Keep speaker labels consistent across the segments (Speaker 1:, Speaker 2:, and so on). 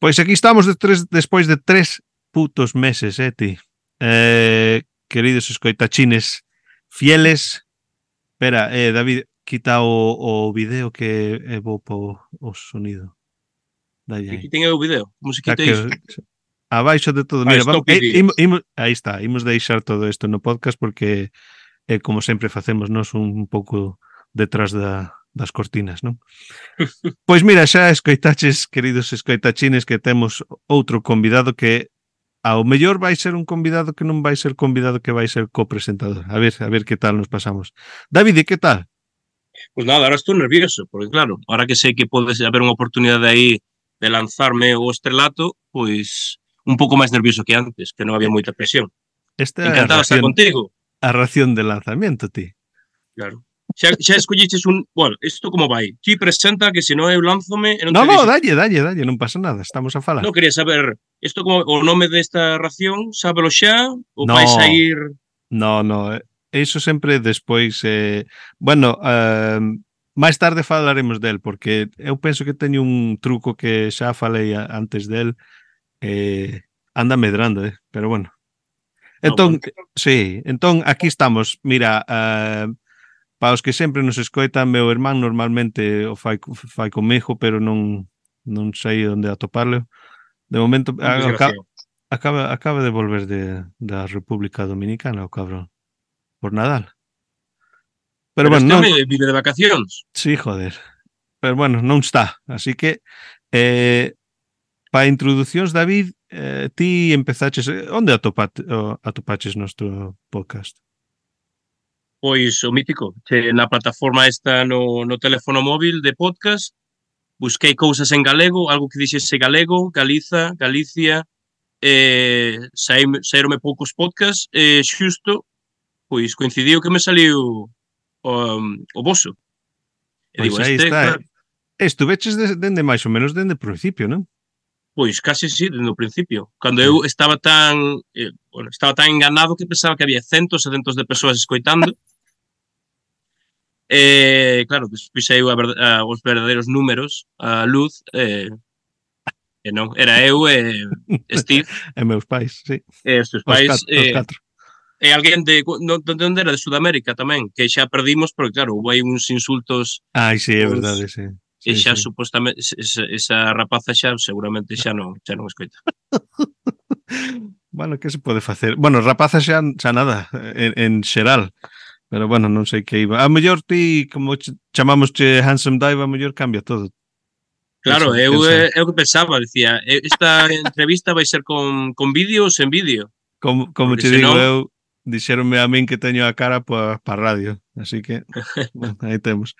Speaker 1: Pois aquí estamos de tres, despois de tres putos meses, eh, ti. Eh, queridos escoitachines fieles. Espera, eh, David, quita o, o video que é vou po o sonido. Dalle aí.
Speaker 2: Aquí ten eu o video. Como se
Speaker 1: Xa
Speaker 2: quita iso?
Speaker 1: que- Abaixo de todo,
Speaker 2: Ah,
Speaker 1: mira, vamos,
Speaker 2: stop
Speaker 1: eh,
Speaker 2: videos.
Speaker 1: im- im- aí está, imos deixar todo isto no podcast porque eh, como sempre facemos nos un pouco detrás da, das cortinas, non? pois mira, xa escoitaches, queridos escoitachines, que temos outro convidado que ao mellor vai ser un convidado que non vai ser convidado que vai ser copresentador. A ver, a ver que tal nos pasamos. David, e que tal?
Speaker 2: Pois nada, ahora estou nervioso, porque claro, ahora que sei que pode haber unha oportunidade aí de lanzarme o estrelato, pois un pouco máis nervioso que antes, que non había moita presión.
Speaker 1: Esta é a
Speaker 2: Encantado de estar
Speaker 1: ración,
Speaker 2: contigo.
Speaker 1: a ración de lanzamiento, ti.
Speaker 2: Claro. Xa, xa escolliches un... Bueno, isto como vai? Ti presenta que se non eu lánzome... e Non,
Speaker 1: No,
Speaker 2: te
Speaker 1: no,
Speaker 2: dixo-
Speaker 1: dalle, dalle, dalle, non pasa nada, estamos a falar.
Speaker 2: non quería saber isto como o nome desta ración, sábelo xa, ou
Speaker 1: No.
Speaker 2: vai sair...
Speaker 1: No, no, eh, eso sempre despois eh bueno, eh, máis tarde falaremos del porque eu penso que teño un truco que xa falei a- antes del eh anda medrando, eh, pero bueno. Entón,
Speaker 2: No, bueno,
Speaker 1: Sí, entón aquí estamos. Mira, uh, para os que sempre nos escoitan, meu irmán normalmente o fai, co- fai comigo, pero non non sei onde atoparlo. De momento
Speaker 2: un
Speaker 1: aca,
Speaker 2: desgraciado.
Speaker 1: acaba acaba de volver de da República Dominicana o cabrón. Por Nadal. Pero,
Speaker 2: Pero
Speaker 1: bueno,
Speaker 2: este
Speaker 1: non,
Speaker 2: home vive de vacacións.
Speaker 1: Sí, joder. Pero bueno, non está. Así que eh, para introducións, David, eh, ti empezaches... eh, Onde atopate, o- atopaches nuestro podcast?
Speaker 2: Pois o mítico, que na plataforma esta no, no teléfono móvil de podcast, busquei cousas en galego, algo que dixese galego, Galiza, Galicia, eh, saíme- saírome poucos podcasts, e eh, xusto, pois coincidiu que me saliu um, o vosso.
Speaker 1: Pois
Speaker 2: E digo,
Speaker 1: aí
Speaker 2: este,
Speaker 1: está.
Speaker 2: claro,
Speaker 1: eh. Estuveches des- dende máis ou menos dende o principio, non?
Speaker 2: Pois case sí, dende o principio. Cando eu estaba tan, eh, bueno, estaba tan enganado que pensaba que había centos e centos de persoas escoitando. eh, claro, despois saiu a verd a, os verdadeiros números, a luz, eh, e non, era eu e Steve,
Speaker 1: E meus pais, sí.
Speaker 2: e os teus
Speaker 1: Os,
Speaker 2: pais,
Speaker 1: cat, os
Speaker 2: eh,
Speaker 1: catro.
Speaker 2: e alguén de, co- no, de onde era, de Sudamérica tamén, que xa perdimos, porque claro, houve aí uns insultos
Speaker 1: Ai, sí, é
Speaker 2: os-
Speaker 1: verdade, sí.
Speaker 2: e
Speaker 1: Sí,
Speaker 2: xa
Speaker 1: sí.
Speaker 2: supostamente esa, esa rapaza xa seguramente xa non, xa non escoita.
Speaker 1: Bueno, que se pode facer? Bueno, rapaza xa, xa nada, en, en xeral. Pero bueno, non sei que iba. A mellor ti, como ch chamamos che Handsome Dive, a mellor cambia todo.
Speaker 2: Claro,
Speaker 1: Pensa-
Speaker 2: eu,
Speaker 1: pensa.
Speaker 2: eh, eu que pensaba, dicía, eh, esta entrevista vai ser con, con vídeo ou sen vídeo?
Speaker 1: Como, como
Speaker 2: Porque
Speaker 1: te
Speaker 2: se
Speaker 1: digo
Speaker 2: non-
Speaker 1: eu, dixéronme a min que teño a cara para pa radio, así que bueno, aí temos.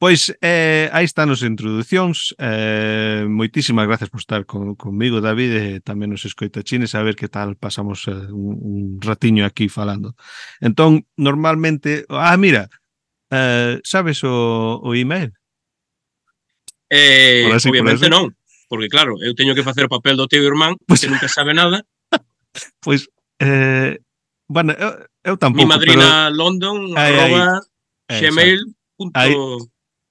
Speaker 1: Pois eh, aí están as introducións eh, Moitísimas gracias por estar con, conmigo David e tamén os escoitachines A ver que tal pasamos eh, un, un ratiño aquí falando Entón, normalmente Ah, mira, eh, sabes o, o email?
Speaker 2: Eh,
Speaker 1: Por así, por
Speaker 2: obviamente
Speaker 1: así.
Speaker 2: non, porque claro, eu teño que facer o papel do teu irmán,
Speaker 1: Pois-
Speaker 2: que nunca sabe nada.
Speaker 1: Pois, eh, bueno, eu, eu tampouco
Speaker 2: Mi madrina London,
Speaker 1: Ai, ai,
Speaker 2: arroba,
Speaker 1: eh,
Speaker 2: gmail, punto...
Speaker 1: Ai,
Speaker 2: ¿no?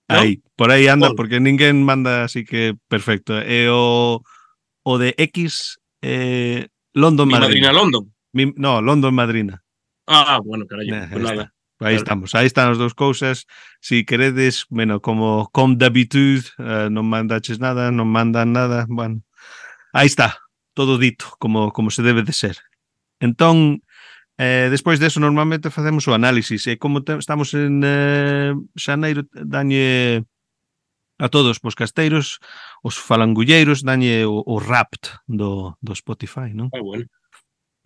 Speaker 1: Aí, por aí anda,
Speaker 2: Pon.
Speaker 1: porque ninguén manda, así que perfecto. E o, o de X, eh, London
Speaker 2: mi
Speaker 1: Madrina.
Speaker 2: madrina London.
Speaker 1: Mi, no, London Madrina.
Speaker 2: Ah, bueno, carallo,
Speaker 1: Nah, ahí
Speaker 2: pues nada.
Speaker 1: Aí
Speaker 2: Claro.
Speaker 1: estamos, aí están as dous cousas. Si queredes, bueno, como com d'habitude, eh, non mandaches nada, non mandan nada, bueno. Aí está, todo dito, como, como se debe de ser. Entón, eh, despois deso, normalmente facemos o análisis. E como te, estamos en eh, xaneiro, dañe a todos os casteiros, os falangulleiros, dañe o, o rapt do, do Spotify, non?
Speaker 2: Ah, bueno.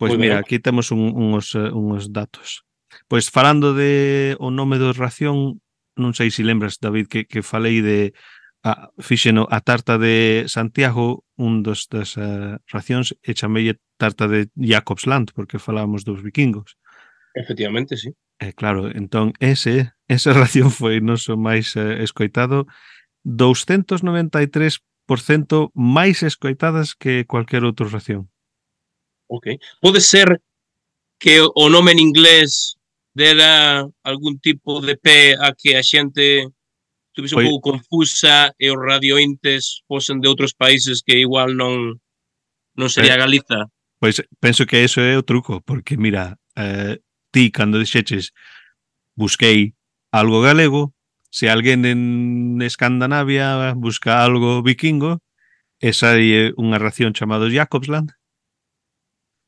Speaker 1: Pois
Speaker 2: Moi
Speaker 1: mira,
Speaker 2: ben.
Speaker 1: aquí temos un, unhos, eh, unhos datos. Pois falando de o nome do ración, non sei se lembras, David, que, que falei de a, fixeno a tarta de Santiago, un dos das uh, racións, e chamelle tarta de Jacobsland, porque falábamos dos vikingos.
Speaker 2: Efectivamente, sí.
Speaker 1: E claro, entón ese, esa ración foi noso máis eh, escoitado, 293% máis escoitadas que cualquier outra ración.
Speaker 2: Ok. Pode ser que o nome en inglés dera algún tipo de pé a que a xente Tuves
Speaker 1: Pois-
Speaker 2: un pouco confusa e os radiointes fosen de outros países que igual non
Speaker 1: Eh,
Speaker 2: non sería Galiza.
Speaker 1: Pois penso que eso é o truco, porque mira, eh, ti cando dixeches busquei algo galego, se alguén en Escandinavia busca algo vikingo, esa é unha ración chamada Jacobsland,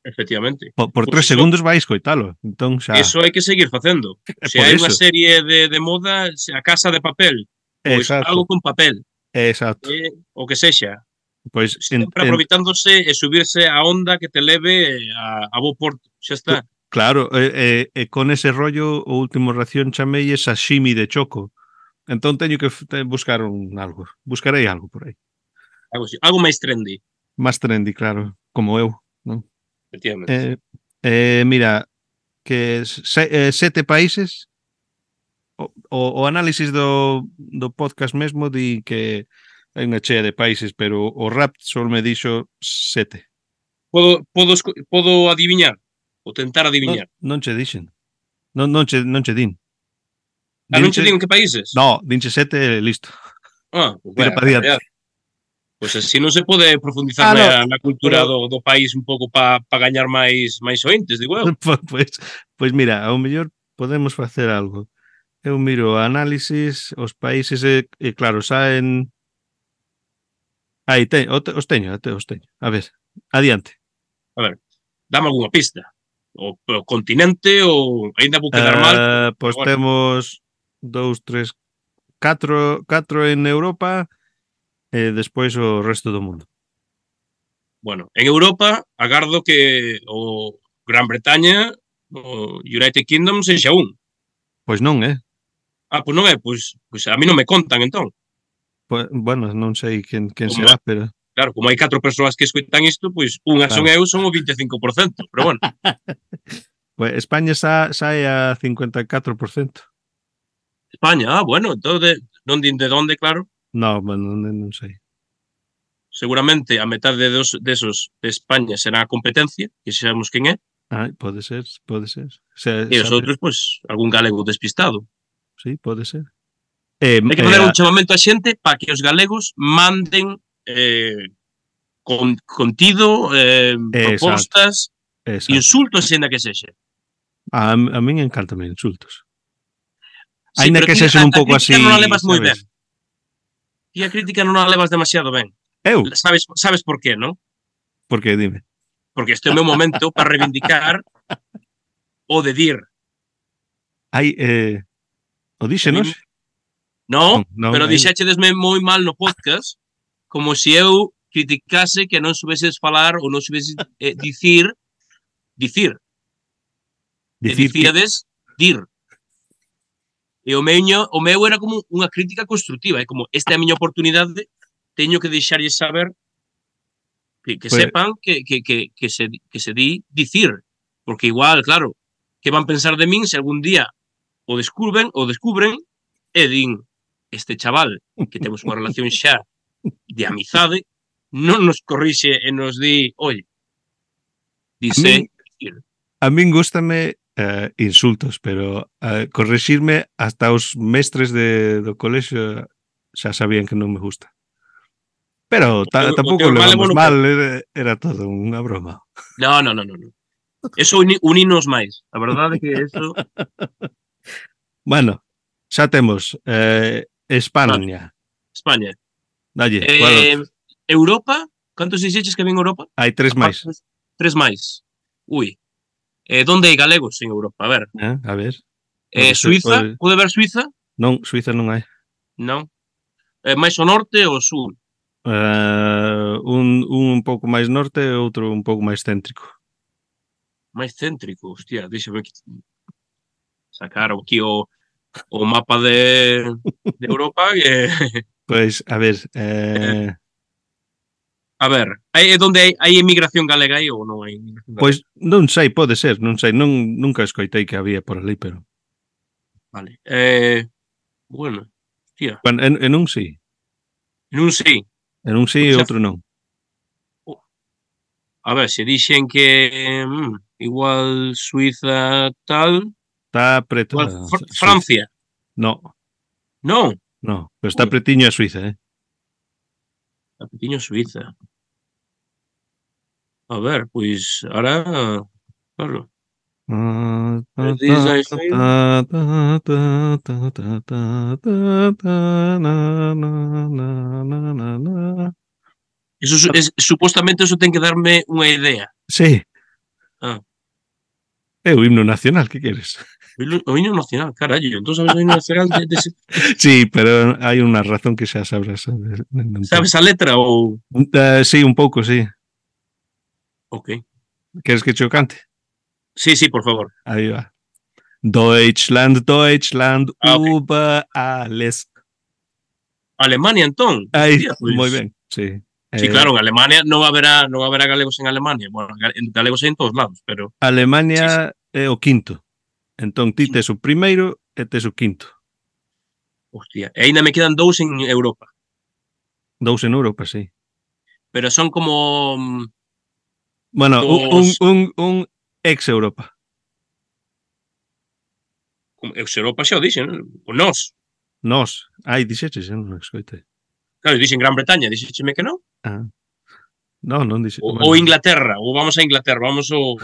Speaker 2: Efectivamente.
Speaker 1: por, por
Speaker 2: Pois
Speaker 1: tres
Speaker 2: eso-
Speaker 1: segundos vais coitalo. Entón xa,
Speaker 2: Eso hai que seguir facendo.
Speaker 1: é
Speaker 2: Se
Speaker 1: Eh, por
Speaker 2: hai unha
Speaker 1: eso.
Speaker 2: serie de, de moda, se a casa de papel, pois
Speaker 1: exacto,
Speaker 2: algo con papel,
Speaker 1: exacto.
Speaker 2: eh, o que sexa.
Speaker 1: Pois en,
Speaker 2: Sempre
Speaker 1: en,
Speaker 2: aproveitándose e subirse a onda que te leve eh, a, a bo porto. Xa está.
Speaker 1: Claro, e, e, e con ese rollo o último ración chamei é sashimi de choco. Entón teño que f- te- buscar un algo. Buscarei algo por aí.
Speaker 2: Algo, así. algo máis trendy.
Speaker 1: Más trendy, claro, como eu. Eh,
Speaker 2: Efectivamente.
Speaker 1: eh, mira, que se, eh, sete países o, o, o análisis do, do podcast mesmo di que hai unha chea de países, pero o rap só me dixo sete.
Speaker 2: Podo, podo, esco- podo adiviñar ou
Speaker 1: Non,
Speaker 2: tentar adiviñar.
Speaker 1: non che dixen. Non, non, che, non che din.
Speaker 2: Ah, non che
Speaker 1: Dinche-
Speaker 2: digo que países?
Speaker 1: No, dinche sete, listo.
Speaker 2: Ah, pues,
Speaker 1: Tira pa diante.
Speaker 2: Pois así non se pode profundizar
Speaker 1: Ah,
Speaker 2: na, na cultura
Speaker 1: Pero-
Speaker 2: do, do país un pouco para pa gañar máis máis ointes, digo eu.
Speaker 1: Pois pues, pues mira, ao mellor podemos facer algo. Eu miro o análisis, os países e, e claro, saen Aí te, o te- os teño, te- os teño. A ver, adiante.
Speaker 2: Dame algunha pista. O, o continente ou aínda vou quedar mal.
Speaker 1: Uh, pois
Speaker 2: pero bueno.
Speaker 1: temos dous, tres, catro, catro en Europa e despois o resto do mundo.
Speaker 2: Bueno, en Europa agardo que o Gran Bretaña, o United Kingdom sexa un.
Speaker 1: Pois non, eh?
Speaker 2: Ah, pois non é, pois, pois a mí non me contan entón.
Speaker 1: Pois, bueno, non sei quen, quen
Speaker 2: Como-
Speaker 1: será, pero...
Speaker 2: Claro, como hai catro persoas que escoitan isto, pois unha son eu, son o 25%, pero bueno.
Speaker 1: Pois, España sa, sae a 54%.
Speaker 2: España, ah, bueno, entón de, non din de onde, claro.
Speaker 1: No, bueno, non, non sei.
Speaker 2: Seguramente a metade dos, desos de España será a competencia, que sabemos quen é,
Speaker 1: Ah, pode ser, pode ser. Se,
Speaker 2: e os
Speaker 1: sabe-
Speaker 2: outros, pois, algún galego despistado.
Speaker 1: Sí, pode ser. Eh,
Speaker 2: Hai que
Speaker 1: eh,
Speaker 2: fazer
Speaker 1: a-
Speaker 2: un chamamento á xente para que os galegos manden eh, con, contido, eh,
Speaker 1: Exacto.
Speaker 2: propostas,
Speaker 1: ah, exacto.
Speaker 2: insultos, ainda que sexa.
Speaker 1: a, a min encantame insultos.
Speaker 2: Sí,
Speaker 1: Ainda
Speaker 2: pero
Speaker 1: que
Speaker 2: ti
Speaker 1: sexen un
Speaker 2: a- a
Speaker 1: pouco así,
Speaker 2: crítica Non a levas moi ben.
Speaker 1: sabes?
Speaker 2: Ti a crítica non a levas demasiado ben.
Speaker 1: Eu,
Speaker 2: Sabes, sabes por qué, non?
Speaker 1: porque dime.
Speaker 2: Porque este é o meu momento para reivindicar o de dir.
Speaker 1: Hai eh o díxenos?
Speaker 2: Non,
Speaker 1: non,
Speaker 2: pero
Speaker 1: hai-
Speaker 2: dixéchedesme moi mal no podcast, como se eu criticase que non soubeses falar ou non soubeses eh, dicir, dicir,
Speaker 1: dicir que,
Speaker 2: dicir dicíades dir. E o meño, o meu era como unha crítica constructiva, é como esta é a miña oportunidade, teño que deixarlle saber que, que
Speaker 1: Pois-
Speaker 2: sepan que, que, que, que, se, que se di dicir, porque igual, claro, que van pensar de min se algún día o descubren, o descubren e din este chaval que temos unha relación xa de amizade, non nos corrixe e nos di, oi,
Speaker 1: A
Speaker 2: dice,
Speaker 1: a min gustame eh, insultos, pero eh, correxirme hasta os mestres de, do colexo xa sabían que non me gusta. Pero ta,
Speaker 2: O teu- o
Speaker 1: tampouco
Speaker 2: teu mal é
Speaker 1: levamos
Speaker 2: monopo-
Speaker 1: mal, era, era todo unha broma.
Speaker 2: No, no, no, no. no. Eso uni, uninos máis. A verdade é que eso
Speaker 1: Bueno, xa temos eh, España.
Speaker 2: España.
Speaker 1: Dalle, eh,
Speaker 2: Eh, Europa, cantos dixeches que ven Europa?
Speaker 1: hai tres máis.
Speaker 2: Aparte, Tres máis. Ui. Eh, donde hai galegos en Europa? A ver.
Speaker 1: Eh? A ver,
Speaker 2: Eh,
Speaker 1: Pode ser,
Speaker 2: Suiza,
Speaker 1: pode-
Speaker 2: pode ver Suiza?
Speaker 1: non, Suiza non hai.
Speaker 2: Non. Eh, máis ao norte ou ao sur?
Speaker 1: Uh, un, un un pouco máis norte e outro un pouco máis céntrico.
Speaker 2: Máis céntrico, hostia, deixame aquí sacar aquí o, o mapa de, de Europa que
Speaker 1: Pois, a ver, eh,
Speaker 2: a ver, eh, aí é onde hai, hai emigración galega aí ou non hai emigración galega?
Speaker 1: pois non sei, pode ser, non sei, non nunca escoitei que había por ali, pero
Speaker 2: Vale. Eh, bueno, hostia,
Speaker 1: bueno, en, en un sí,
Speaker 2: non sei.
Speaker 1: en un sí e
Speaker 2: Xa-
Speaker 1: outro non.
Speaker 2: A ver, se dixen que mm, igual Suiza tal,
Speaker 1: Está preto.
Speaker 2: igual
Speaker 1: a
Speaker 2: Fr
Speaker 1: Suiza.
Speaker 2: Francia.
Speaker 1: No,
Speaker 2: Non,
Speaker 1: No, pero está pretiño a Suiza, eh?
Speaker 2: A Petiño Suiza. A ver, pois ahora claro, eso su- es, supostamente eso ten que darme unha idea.
Speaker 1: Sí.
Speaker 2: Ah.
Speaker 1: É o himno nacional, que queres?
Speaker 2: O himno- o himno nacional, carallo, entón sabes o himno nacional de, de,
Speaker 1: Sí, pero hai unha razón que xa sabrás. eh, non-
Speaker 2: sabes a letra ou
Speaker 1: Eh, sí, un pouco, sí.
Speaker 2: OK.
Speaker 1: Queres que che o cante?
Speaker 2: Sí, sí, por favor.
Speaker 1: Aí va. Deutschland, Deutschland,
Speaker 2: Ah, ok.
Speaker 1: über alles.
Speaker 2: Alemania entón.
Speaker 1: Aí,
Speaker 2: Hostia, pois,
Speaker 1: moi ben. Sí. Eh,
Speaker 2: Sí, claro, en Alemania non haberá non haberá galegos en Alemania. Bueno, ga- en galegos hai en todos lados, pero
Speaker 1: Alemania é o quinto. Entón ti tes o primeiro e tes o quinto.
Speaker 2: hostia, e aínda me quedan dous en Europa,
Speaker 1: Dous en Europa, sí.
Speaker 2: pero son como mm,
Speaker 1: Bueno, un,
Speaker 2: Dos.
Speaker 1: un, un ex Europa.
Speaker 2: como eh, Europa xa o dixen, o nós.
Speaker 1: Nós, ai, dixeches, eu non escoitei.
Speaker 2: Claro, dixen Gran Bretaña, dixécheme que non.
Speaker 1: Non, non dixeches.
Speaker 2: O, ou Inglaterra, ou vamos a Inglaterra, vamos ao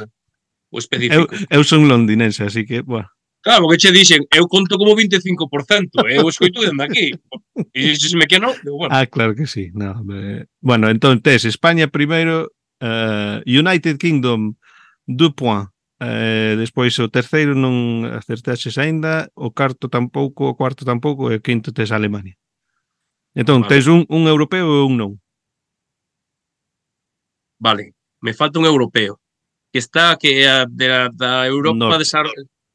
Speaker 2: o
Speaker 1: Eu,
Speaker 2: específico. Eu...
Speaker 1: eu son londinense, así que, buah,
Speaker 2: Claro, porque che dixen, eu conto como 25%, eh, eu escoito dende aquí. E dixesme que non, digo, bueno,
Speaker 1: Ah, claro que sí. No, me... Bueno, entón tes España primeiro, uh, United Kingdom, deux points. Uh, despois o terceiro non acertaxes aínda, o carto tampouco, o cuarto tampouco, e o quinto tes Alemania. Entón,
Speaker 2: Vale.
Speaker 1: tes un, un europeo e un non.
Speaker 2: vale, me falta un europeo que está que é a de la, da Europa
Speaker 1: Norte.
Speaker 2: desar,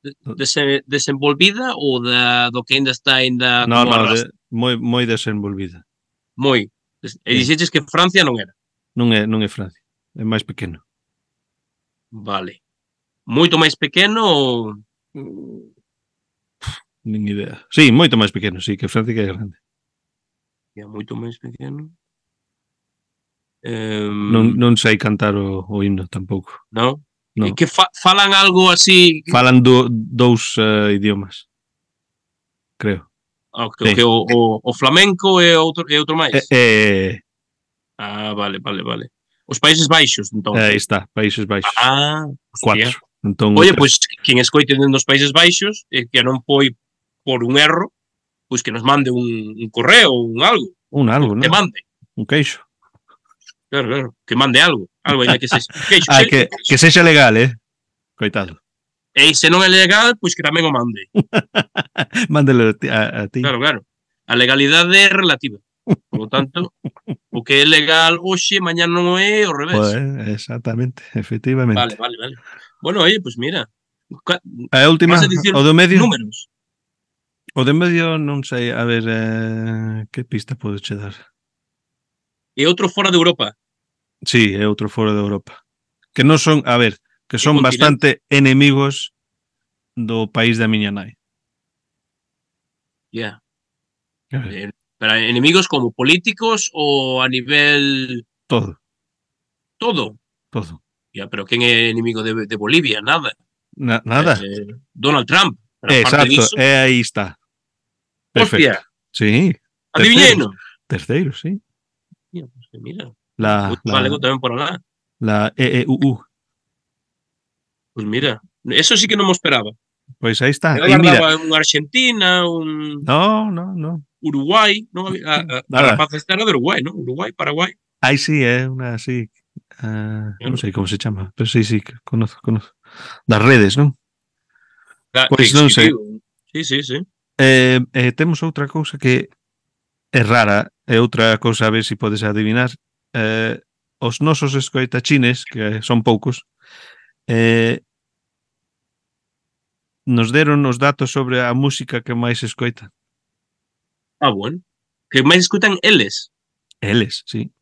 Speaker 2: de, dese- desenvolvida ou da do que aínda está aínda
Speaker 1: no,
Speaker 2: Ah, como
Speaker 1: no,
Speaker 2: arras-
Speaker 1: de, moi, moi desenvolvida.
Speaker 2: moi. E dixeches que Francia non era.
Speaker 1: Non é, non é Francia, é máis pequeno.
Speaker 2: Vale. Moito máis pequeno ou
Speaker 1: Nin idea. Sí, moito máis pequeno, sí, que Francia que é grande.
Speaker 2: é moito máis pequeno. Eh,
Speaker 1: Non, non sei cantar o, o himno tampouco.
Speaker 2: non?
Speaker 1: No.
Speaker 2: E que fa, falan algo así
Speaker 1: Falan do, dous eh, idiomas. Creo.
Speaker 2: Ah, que,
Speaker 1: Sí.
Speaker 2: que o, o, o flamenco é outro é outro máis.
Speaker 1: Eh, eh,
Speaker 2: Ah, vale, vale, vale. Os Países Baixos, entón.
Speaker 1: aí Eh, está, Países Baixos,
Speaker 2: ah, hostia.
Speaker 1: cuatro. Entón,
Speaker 2: Oye,
Speaker 1: outra.
Speaker 2: pois quen escoite dentro dos Países Baixos e que non foi por un erro, pois que nos mande un, un correo ou un algo,
Speaker 1: un algo,
Speaker 2: que
Speaker 1: ¿no?
Speaker 2: mande.
Speaker 1: Un queixo.
Speaker 2: Claro, claro, que mande algo, algo aínda que sexa. Que,
Speaker 1: Ah, que, que sexa legal, eh? Coitado.
Speaker 2: E se non é legal, pois que tamén o mande.
Speaker 1: Mándelo ti- a, a ti.
Speaker 2: Claro, claro. A legalidade é relativa. Por lo tanto, o que é legal hoxe, mañá non o é, ao revés.
Speaker 1: Joder, Pois, exactamente, efectivamente.
Speaker 2: Vale, vale, vale. Bueno, oye, pues mira, ca-
Speaker 1: A última,
Speaker 2: Vas a dicir
Speaker 1: o do medio,
Speaker 2: números.
Speaker 1: o do medio non sei, a ver, eh, que pista podo che dar?
Speaker 2: E outro fora de Europa.
Speaker 1: Sí, é outro foro de Europa. Que non son, a ver, que son
Speaker 2: continente.
Speaker 1: bastante enemigos do país da miña nai.
Speaker 2: Ya.
Speaker 1: A ver,
Speaker 2: Pero enemigos como políticos ou a nivel
Speaker 1: Todo,
Speaker 2: todo.
Speaker 1: todo.
Speaker 2: Ya, pero quen é enemigo de, de Bolivia? Nada.
Speaker 1: Na, nada. Eh,
Speaker 2: Eh, Donald Trump. Pero aparte
Speaker 1: Exacto,
Speaker 2: diso,
Speaker 1: é aí está.
Speaker 2: hostia,
Speaker 1: Perfecto. Sí,
Speaker 2: adiviñeino.
Speaker 1: terceiro, sí.
Speaker 2: Hostia, pues que Eh, Mira,
Speaker 1: La,
Speaker 2: outro galego
Speaker 1: la,
Speaker 2: tamén por alá.
Speaker 1: la EEUU.
Speaker 2: Pues mira, eso sí que non me esperaba.
Speaker 1: Pois aí está.
Speaker 2: Eu
Speaker 1: E mira,
Speaker 2: agardaba un Argentina, un Ah,
Speaker 1: no, no, no.
Speaker 2: Uruguai, non había, a, a, a
Speaker 1: Nada.
Speaker 2: rapaz esta era de Uruguai, non? Uruguai, Paraguai.
Speaker 1: Aí sí, é unha así. Uh, non sei como se chama, pero sí, sí, que conozco, conozco. Das redes, non?
Speaker 2: Da-
Speaker 1: Pois
Speaker 2: que
Speaker 1: non sei.
Speaker 2: escribiu. Ah, Sí, sí, sí.
Speaker 1: Eh, eh, temos outra cousa que é rara, é outra cousa a ver se si podes adivinar. Eh, os nosos escoitachines, que son poucos, eh, nos deron os datos sobre a música que máis escoita.
Speaker 2: Ah, bueno. Que máis escutan eles.
Speaker 1: Eles, sí.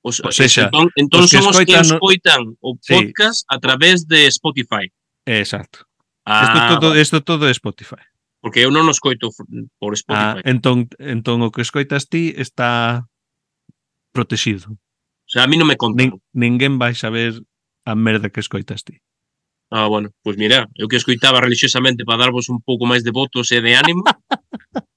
Speaker 2: Os,
Speaker 1: O sexa,
Speaker 2: entón, entón
Speaker 1: os que
Speaker 2: son os que
Speaker 1: escoitan o-
Speaker 2: escoitan o
Speaker 1: Sí.
Speaker 2: podcast a través de Spotify.
Speaker 1: Exacto. Isto
Speaker 2: Ah,
Speaker 1: todo, isto todo é Spotify.
Speaker 2: porque eu non o escoito f- por
Speaker 1: Ah,
Speaker 2: Spotify.
Speaker 1: entón, entón o que escoitas ti está protegido.
Speaker 2: o sea, a mí non me
Speaker 1: Nin,
Speaker 2: contan.
Speaker 1: ninguén vai saber a merda que escoitas ti.
Speaker 2: Ah, bueno, pois pues mira, eu que escoitaba religiosamente para darvos un pouco máis de votos e de ánimo,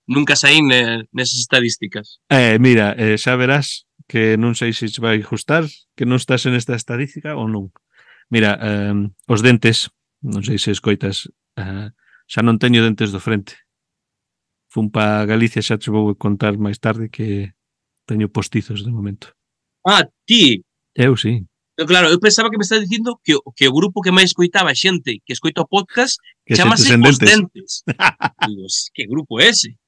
Speaker 2: nunca saín ne- nesas estadísticas.
Speaker 1: Eh, mira, eh, xa verás que non sei se se vai ajustar, que non estás en esta estadística ou non. Mira, eh, os dentes, non sei se escoitas, eh, xa non teño dentes do frente. Fun pa Galicia, xa te vou contar máis tarde que teño postizos de momento.
Speaker 2: Ah, ti,
Speaker 1: Eu sí.
Speaker 2: eu, claro, eu pensaba que me estás dicindo que, o- que o grupo que máis escoitaba xente que escoita o podcast
Speaker 1: Que
Speaker 2: chamase
Speaker 1: xente sen
Speaker 2: Os
Speaker 1: dentes.
Speaker 2: Dentes. Digo, "S- que grupo é ese?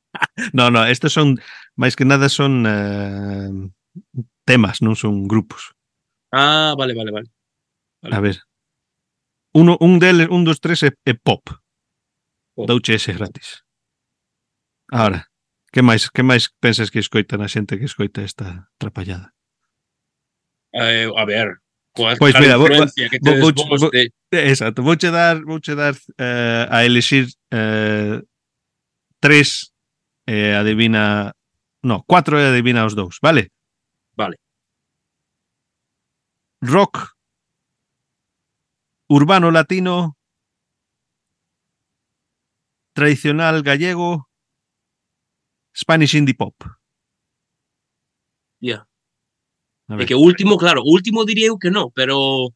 Speaker 1: No, no, estes son, máis que nada son eh, temas, non son grupos.
Speaker 2: Ah, vale, vale, vale.
Speaker 1: A ver. Uno, un deles, un dos tres é, é pop.
Speaker 2: Pop.
Speaker 1: Douche ese gratis. Ahora, que máis, que máis pensas que escoitan a xente que escoita esta trapallada?
Speaker 2: Eh, a ver, coa
Speaker 1: Pois
Speaker 2: pois,
Speaker 1: mira,
Speaker 2: mira,
Speaker 1: vou-
Speaker 2: influencia que
Speaker 1: vou-
Speaker 2: tedes
Speaker 1: vou-
Speaker 2: vos
Speaker 1: vou-
Speaker 2: de...
Speaker 1: Eh, Exacto, vouche dar, vouche dar eh, a elixir eh, tres eh, adivina, no, cuatro e adivina os dous, vale?
Speaker 2: Vale.
Speaker 1: Rock, urbano latino, tradicional gallego, Spanish indie pop.
Speaker 2: Ya.
Speaker 1: A
Speaker 2: É
Speaker 1: ver,
Speaker 2: que o último, claro, o último diría eu que non, pero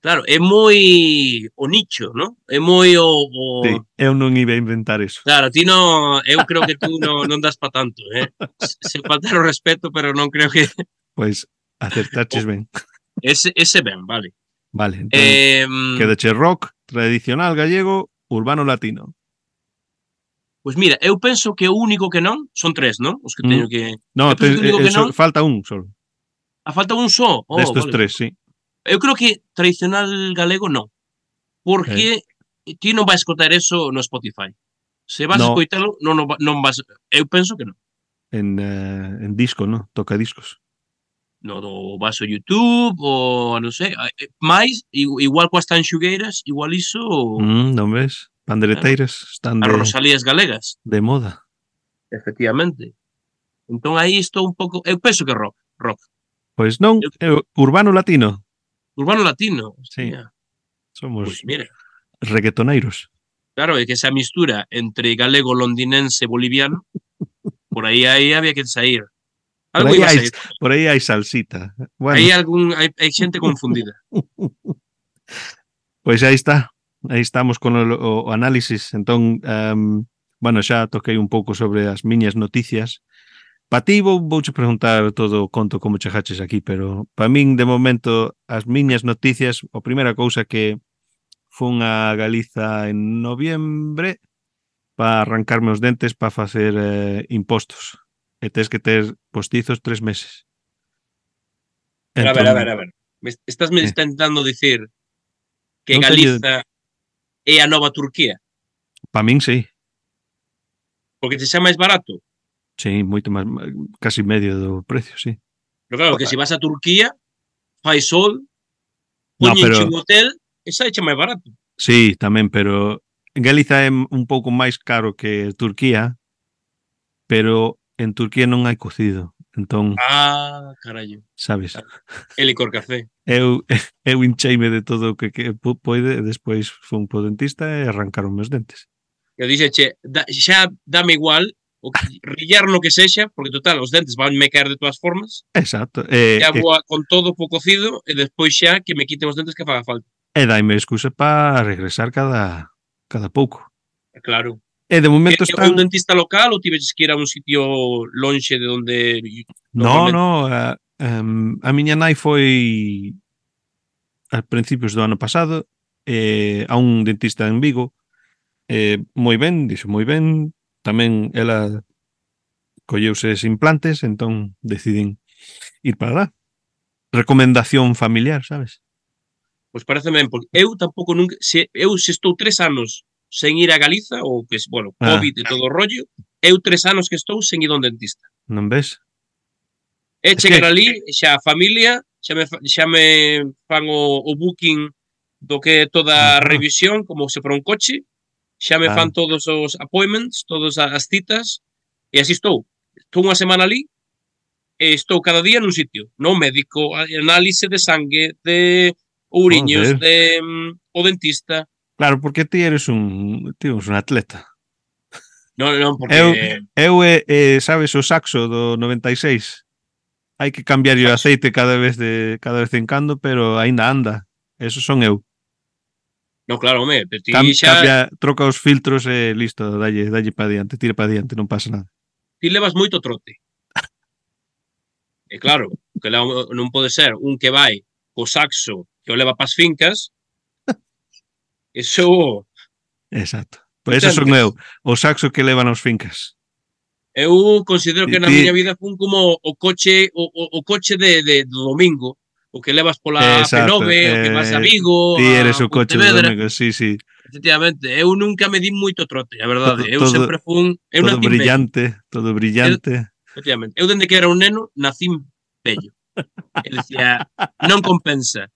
Speaker 2: claro, é moi o nicho, non? É moi o, o...
Speaker 1: sí, eu non iba a inventar eso.
Speaker 2: Claro, ti non, eu creo que tú non, non das pa tanto, eh? Se- Sen faltar o respeto, pero non creo que
Speaker 1: Pois acertaches ben.
Speaker 2: ese ese ben, vale.
Speaker 1: Vale, entón,
Speaker 2: Eh,
Speaker 1: Quedache rock, tradicional gallego, urbano latino.
Speaker 2: pois mira, eu penso que o único que non son tres, non? Os que
Speaker 1: Mm.
Speaker 2: teño que
Speaker 1: No,
Speaker 2: Eu
Speaker 1: te-
Speaker 2: digo
Speaker 1: eh,
Speaker 2: que
Speaker 1: eso-
Speaker 2: non.
Speaker 1: falta un solo.
Speaker 2: A falta un só. Oh,
Speaker 1: de estos
Speaker 2: vale.
Speaker 1: tres, sí.
Speaker 2: Eu creo que tradicional galego non. Porque ti non vais escoitar eso no Spotify. Se vas
Speaker 1: No.
Speaker 2: no. escoitalo, non, non, va- non vas... Eu penso que non.
Speaker 1: En, eh, en disco, ¿no? Toca discos.
Speaker 2: No, do vas ao YouTube, ou non sei, a- eh, máis, i- igual coas tanxugueiras, igual iso, ou
Speaker 1: Mm, non ves? Pandereteiras están
Speaker 2: as
Speaker 1: de,
Speaker 2: Rosalías galegas.
Speaker 1: de moda.
Speaker 2: Efectivamente. Entón aí estou un pouco, eu penso que rock, rock,
Speaker 1: Pois non,
Speaker 2: Eu-
Speaker 1: eh, urbano latino.
Speaker 2: urbano latino.
Speaker 1: Sí.
Speaker 2: hostia. Pois
Speaker 1: Somos
Speaker 2: mira,
Speaker 1: reggaetoneiros.
Speaker 2: claro, é que esa mistura entre galego, londinense, boliviano, por aí aí había que sair.
Speaker 1: Por
Speaker 2: Algo
Speaker 1: aí
Speaker 2: iba a
Speaker 1: hai-
Speaker 2: sair.
Speaker 1: Por aí hai salsita. Bueno,
Speaker 2: Aí algún hai, hai xente confundida.
Speaker 1: pois aí está. Aí estamos con o, o análisis. Entón, um, bueno, xa toquei un pouco sobre as miñas noticias. Pa ti vou, vouche preguntar todo o conto como chegaches aquí, pero pa min, de momento, as miñas noticias, a primeira cousa que fun a Galiza en noviembre para arrancarme os dentes para facer eh, impostos. E tes que ter postizos tres meses.
Speaker 2: Pero a ver, a
Speaker 1: Entón,
Speaker 2: ver, a ver. Me est- estás me
Speaker 1: Eh.
Speaker 2: intentando dicir que
Speaker 1: Non teño-
Speaker 2: Galiza é a nova Turquía,
Speaker 1: Entón, Pa min, sí.
Speaker 2: porque se xa máis barato.
Speaker 1: Sí, moito máis, casi medio do precio, sí.
Speaker 2: Pero claro, que se vas a Turquía, fai sol,
Speaker 1: No,
Speaker 2: poñenche
Speaker 1: pero-
Speaker 2: un hotel, e xa máis barato.
Speaker 1: Sí, tamén, pero en Galiza é un pouco máis caro que Turquía, pero en Turquía non hai cocido. Entón,
Speaker 2: Ah, carallo.
Speaker 1: sabes,
Speaker 2: E licor café.
Speaker 1: eu eu hincheime de todo o que, que po- poide e despois fun po dentista e arrancaron meus dentes.
Speaker 2: Eu dixe, che, da, xa dame igual, o que, rillar no que sexa, porque total, os dentes van me caer de todas formas,
Speaker 1: Exacto. E,
Speaker 2: xa
Speaker 1: e,
Speaker 2: vou a, con todo po cocido, e despois xa que me quiten os dentes que faga falta.
Speaker 1: e daime excusa para regresar cada cada pouco.
Speaker 2: Claro.
Speaker 1: E de momento
Speaker 2: É, é
Speaker 1: están...
Speaker 2: un dentista local ou tives que ir a un sitio lonxe de onde...
Speaker 1: No, no, a, um, a miña nai foi a principios do ano pasado eh, a un dentista en Vigo eh, moi ben, dixo moi ben tamén ela colleuse os implantes entón decidín ir para lá recomendación familiar, sabes?
Speaker 2: Pois parece ben, porque eu tampouco nunca... Se, eu se estou tres anos sen ir a Galiza, ou que, bueno,
Speaker 1: Ah.
Speaker 2: COVID e todo o rollo, eu tres anos que estou sen ir a un dentista.
Speaker 1: Non ves?
Speaker 2: E
Speaker 1: que-
Speaker 2: chegar ali, xa a familia, xa me, fa- xa me fan o, o booking do que é toda a
Speaker 1: Ajá.
Speaker 2: revisión, como se para un coche, xa me
Speaker 1: Ah.
Speaker 2: fan todos os appointments, todas a- as citas, e así estou. Estou unha semana ali, e estou cada día nun sitio, non médico, a- análise de sangue, de ouriños,
Speaker 1: Joder.
Speaker 2: de, mm, o dentista.
Speaker 1: Claro, porque ti eres un ti eres un atleta
Speaker 2: Non, non, porque
Speaker 1: Eu-
Speaker 2: eh,
Speaker 1: Eu, eh, eh, sabes, o saxo do 96. Hai que cambiarlle o aceite cada vez de cada vez en cando, pero aínda anda. Eso son eu.
Speaker 2: non claro, home, pero ti
Speaker 1: Cam,
Speaker 2: xa
Speaker 1: cambia, troca os filtros e listo, dalle, dalle para diante, tira para diante, non pasa nada.
Speaker 2: ti levas moito trote. E Eh, claro, que la- non pode ser un que vai co saxo que o leva pas fincas. Eso
Speaker 1: Exacto. Pois pues eso son eu,
Speaker 2: Entendes? eu.
Speaker 1: o saxo que levan aos fincas.
Speaker 2: Eu considero que na
Speaker 1: Ti-
Speaker 2: miña vida fun como o coche o, o, o coche de, de do domingo, o que levas pola
Speaker 1: Exacto,
Speaker 2: P9, o que vas
Speaker 1: eh,
Speaker 2: a Vigo,
Speaker 1: Ti
Speaker 2: a
Speaker 1: eres o coche do
Speaker 2: Pontevedra.
Speaker 1: domingo, sí, sí,
Speaker 2: Efectivamente, eu nunca me di moito trote, a
Speaker 1: Todo-
Speaker 2: verdade. eu
Speaker 1: todo-
Speaker 2: sempre fun, eu
Speaker 1: todo
Speaker 2: nací vello,
Speaker 1: brillante, todo brillante.
Speaker 2: efectivamente. Eu dende que era un neno nacín vello. E dicía, non compensa.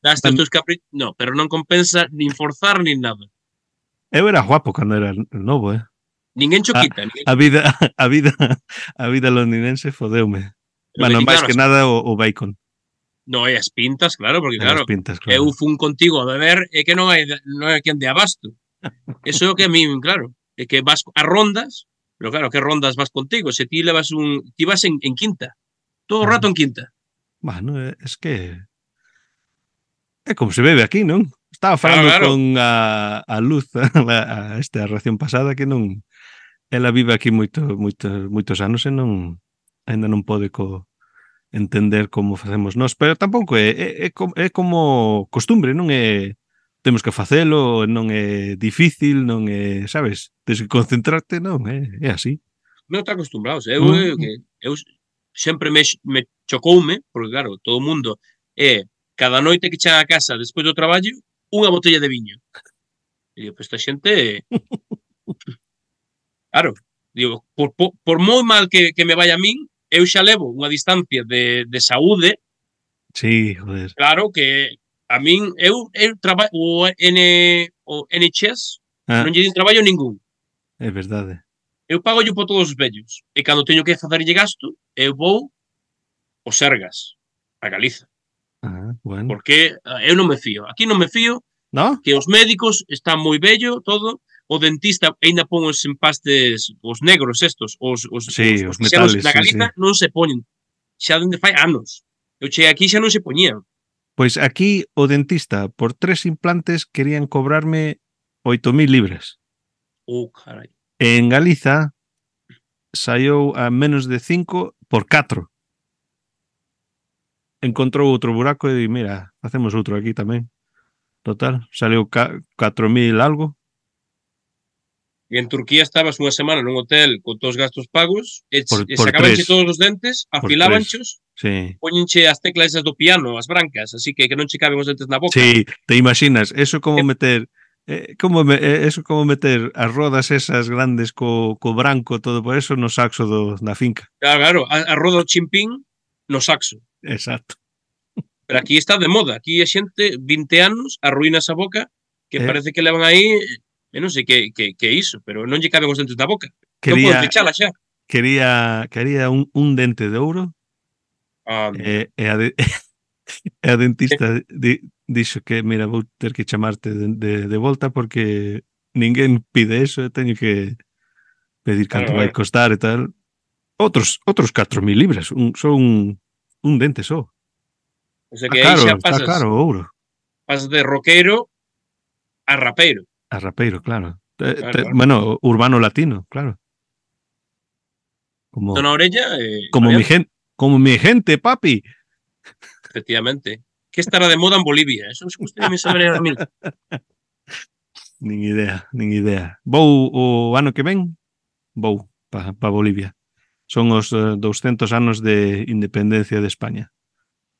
Speaker 2: Daste os teus capri... No, pero non compensa nin forzar nin nada.
Speaker 1: Eu era guapo cando era novo, eh.
Speaker 2: Ninguén cho
Speaker 1: Ah,
Speaker 2: quita. ninguén-
Speaker 1: A vida a vida a vida londinense fodeume.
Speaker 2: pero
Speaker 1: Bueno,
Speaker 2: que,
Speaker 1: máis
Speaker 2: claro,
Speaker 1: que nada o, o bacon,
Speaker 2: No, e as pintas, claro,
Speaker 1: e
Speaker 2: porque claro,
Speaker 1: as pintas, claro.
Speaker 2: eu fun contigo a beber e que non hai non hai quen de abasto. Eso é o que a mí, claro, é que vas a rondas, pero claro, que rondas vas contigo, se ti levas un ti vas en, en quinta. Todo o rato en quinta.
Speaker 1: Bueno, é- es que é como se bebe aquí, non? Estaba falando
Speaker 2: Claro, claro.
Speaker 1: con a, a Luz a, a esta ración pasada que non ela vive aquí moito, moito, moitos anos e non aínda non pode co entender como facemos nós, pero tampouco é, é, é, co- é como costumbre, non é temos que facelo, non é difícil, non é, sabes, tens que concentrarte, non, é, é así.
Speaker 2: Non está acostumbrados. Eu
Speaker 1: Mm.
Speaker 2: é o eh, que eu sempre me me chocoume, porque claro, todo o mundo é cada noite que chega a casa despois do traballo, unha botella de viño. E digo, pues esta xente Claro, digo, por, por, por moi mal que, que me vai a min, eu xa levo unha distancia de, de saúde
Speaker 1: Sí, joder.
Speaker 2: Claro que a min eu eu traballo o N o NHS
Speaker 1: Ah,
Speaker 2: non lle din traballo ningún.
Speaker 1: é verdade.
Speaker 2: Eu pago yo por todos os vellos e cando teño que facerlle gasto, eu vou o Sergas a Galiza,
Speaker 1: Ah, bueno.
Speaker 2: porque ah, eu non me fío. Aquí non me fío
Speaker 1: No?
Speaker 2: que os médicos están moi bello todo, o dentista aínda pon os empastes os negros estos, os os
Speaker 1: Sí, os
Speaker 2: que xa non-
Speaker 1: metales,
Speaker 2: na
Speaker 1: sí,
Speaker 2: Galiza non se poñen. Xa dende fai anos. Eu cheguei aquí xa non se poñían.
Speaker 1: Pois aquí o dentista por tres implantes querían cobrarme 8.000 libras.
Speaker 2: Oh, carai.
Speaker 1: E en Galiza saiu a menos de 5 por 4. Encontrou outro buraco e di, mira, facemos outro aquí tamén. Total, saiu 4.000 algo.
Speaker 2: E en Turquía estabas unha semana nun hotel con todos os gastos pagos e,
Speaker 1: Por-
Speaker 2: por, e
Speaker 1: por
Speaker 2: sacabanche
Speaker 1: tres.
Speaker 2: todos os dentes,
Speaker 1: Por
Speaker 2: afilábanchos,
Speaker 1: Sí.
Speaker 2: poñenche as teclas esas do piano, as brancas, así que que non che caben os dentes na boca.
Speaker 1: Sí, te imaginas, eso como
Speaker 2: Eh,
Speaker 1: meter eh, como me, eh, eso como meter as rodas esas grandes co, co branco todo por eso no saxo do, da finca.
Speaker 2: Claro, claro, a, a roda o chimpín no saxo.
Speaker 1: Exacto.
Speaker 2: Pero aquí está de moda, aquí a xente 20 anos arruínas a boca que
Speaker 1: Eh.
Speaker 2: parece que levan aí e non sei que, que, que é iso, pero non lle caben os dentes na boca. Non
Speaker 1: Quería
Speaker 2: podes fechala xa.
Speaker 1: quería quería un, un dente de ouro
Speaker 2: Ah,
Speaker 1: e, e, a, de, e a dentista di, dixo que mira, vou ter que chamarte de, de, de volta porque ninguén pide eso, e teño que pedir canto
Speaker 2: Claro,
Speaker 1: vai
Speaker 2: claro.
Speaker 1: costar e tal. Outros outros 4000 libras, un só un un dente só.
Speaker 2: o sea
Speaker 1: Está
Speaker 2: que aí
Speaker 1: caro,
Speaker 2: xa
Speaker 1: está
Speaker 2: pasas,
Speaker 1: caro o ouro.
Speaker 2: pasas de roqueiro a rapeiro.
Speaker 1: A rapeiro, claro. Te,
Speaker 2: Claro,
Speaker 1: te,
Speaker 2: claro.
Speaker 1: Bueno, urbano latino, claro. Como,
Speaker 2: Dona orella
Speaker 1: Oh.
Speaker 2: eh,
Speaker 1: como mi gente, como mi gente, papi.
Speaker 2: Efectivamente. ¿Qué estará de moda en Bolivia? Eso es que usted me sabrá ahora mismo.
Speaker 1: Nin idea, nin idea. Vou o ano que ven, vou para pa Bolivia. Son os eh, 200 anos de independencia de España.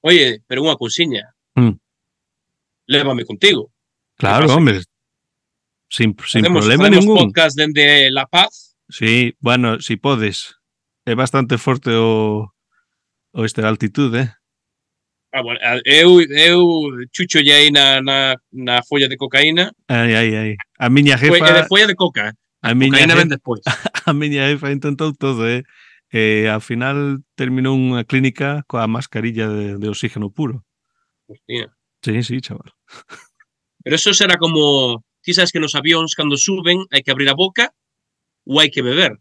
Speaker 2: Oye, pero unha cousiña.
Speaker 1: Mm.
Speaker 2: Lévame contigo.
Speaker 1: Claro,
Speaker 2: pasa?
Speaker 1: hombre. Sin, sin
Speaker 2: Hacemos-
Speaker 1: problema
Speaker 2: hacemos
Speaker 1: ningún.
Speaker 2: podcast dende La Paz.
Speaker 1: Sí, bueno, si podes. É bastante forte o, o este altitude, eh?
Speaker 2: Ah, bueno, a- eu, eu chucho ya aí na, na, na folla de cocaína.
Speaker 1: Ai, ai, ai. A miña
Speaker 2: Foi, é de
Speaker 1: jefa,
Speaker 2: folla de coca.
Speaker 1: a miña
Speaker 2: Cocaína
Speaker 1: jefa,
Speaker 2: ven despois.
Speaker 1: a miña jefa intentou todo, eh? E ao final terminou unha clínica coa mascarilla de, de oxígeno puro.
Speaker 2: Hostia.
Speaker 1: Sí, sí, chaval.
Speaker 2: Pero eso será como... Ti sabes que nos avións cando suben hai que abrir a boca ou hai que beber.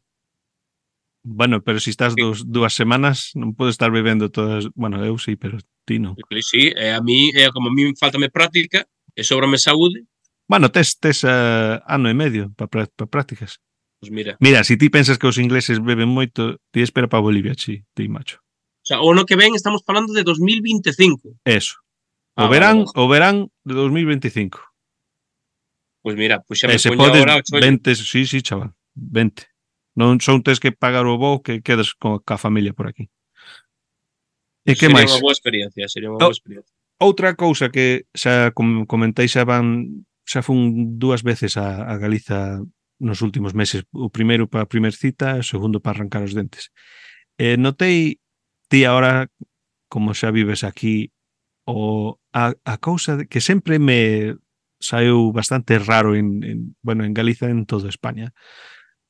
Speaker 1: Bueno, pero se si estás dos, dúas semanas non podes estar bebendo todas, bueno, eu sí, pero ti non.
Speaker 2: E, Sí, eh, a mí, eh, como a mí faltame práctica e sobrame saúde,
Speaker 1: Bueno, tes, tes uh, ano e medio para pa prácticas.
Speaker 2: pois mira,
Speaker 1: Mira, se ti pensas que os ingleses beben moito, ti espera para Bolivia, chi, ti macho.
Speaker 2: o, sea, o no que ven estamos falando de 2025.
Speaker 1: Eso. O
Speaker 2: Ah, vale,
Speaker 1: verán,
Speaker 2: vale.
Speaker 1: o verán de 2025.
Speaker 2: Pois mira, pois xa
Speaker 1: E Eh,
Speaker 2: me
Speaker 1: se
Speaker 2: poño
Speaker 1: podes,
Speaker 2: agora, ocho,
Speaker 1: vente, sí, sí, chaval, vente. Non son tes que pagar o voo que quedas co, ca familia por aquí. E que
Speaker 2: sería
Speaker 1: máis?
Speaker 2: unha boa experiencia, sería unha
Speaker 1: Oh.
Speaker 2: boa experiencia.
Speaker 1: Outra cousa que xa com- comentei xa van xa fun dúas veces a, a Galiza nos últimos meses, o primeiro para a primeira cita, o segundo para arrancar os dentes. Eh, notei ti ahora como xa vives aquí o a, a cousa de, que sempre me saiu bastante raro en, en bueno, en Galiza e en toda España.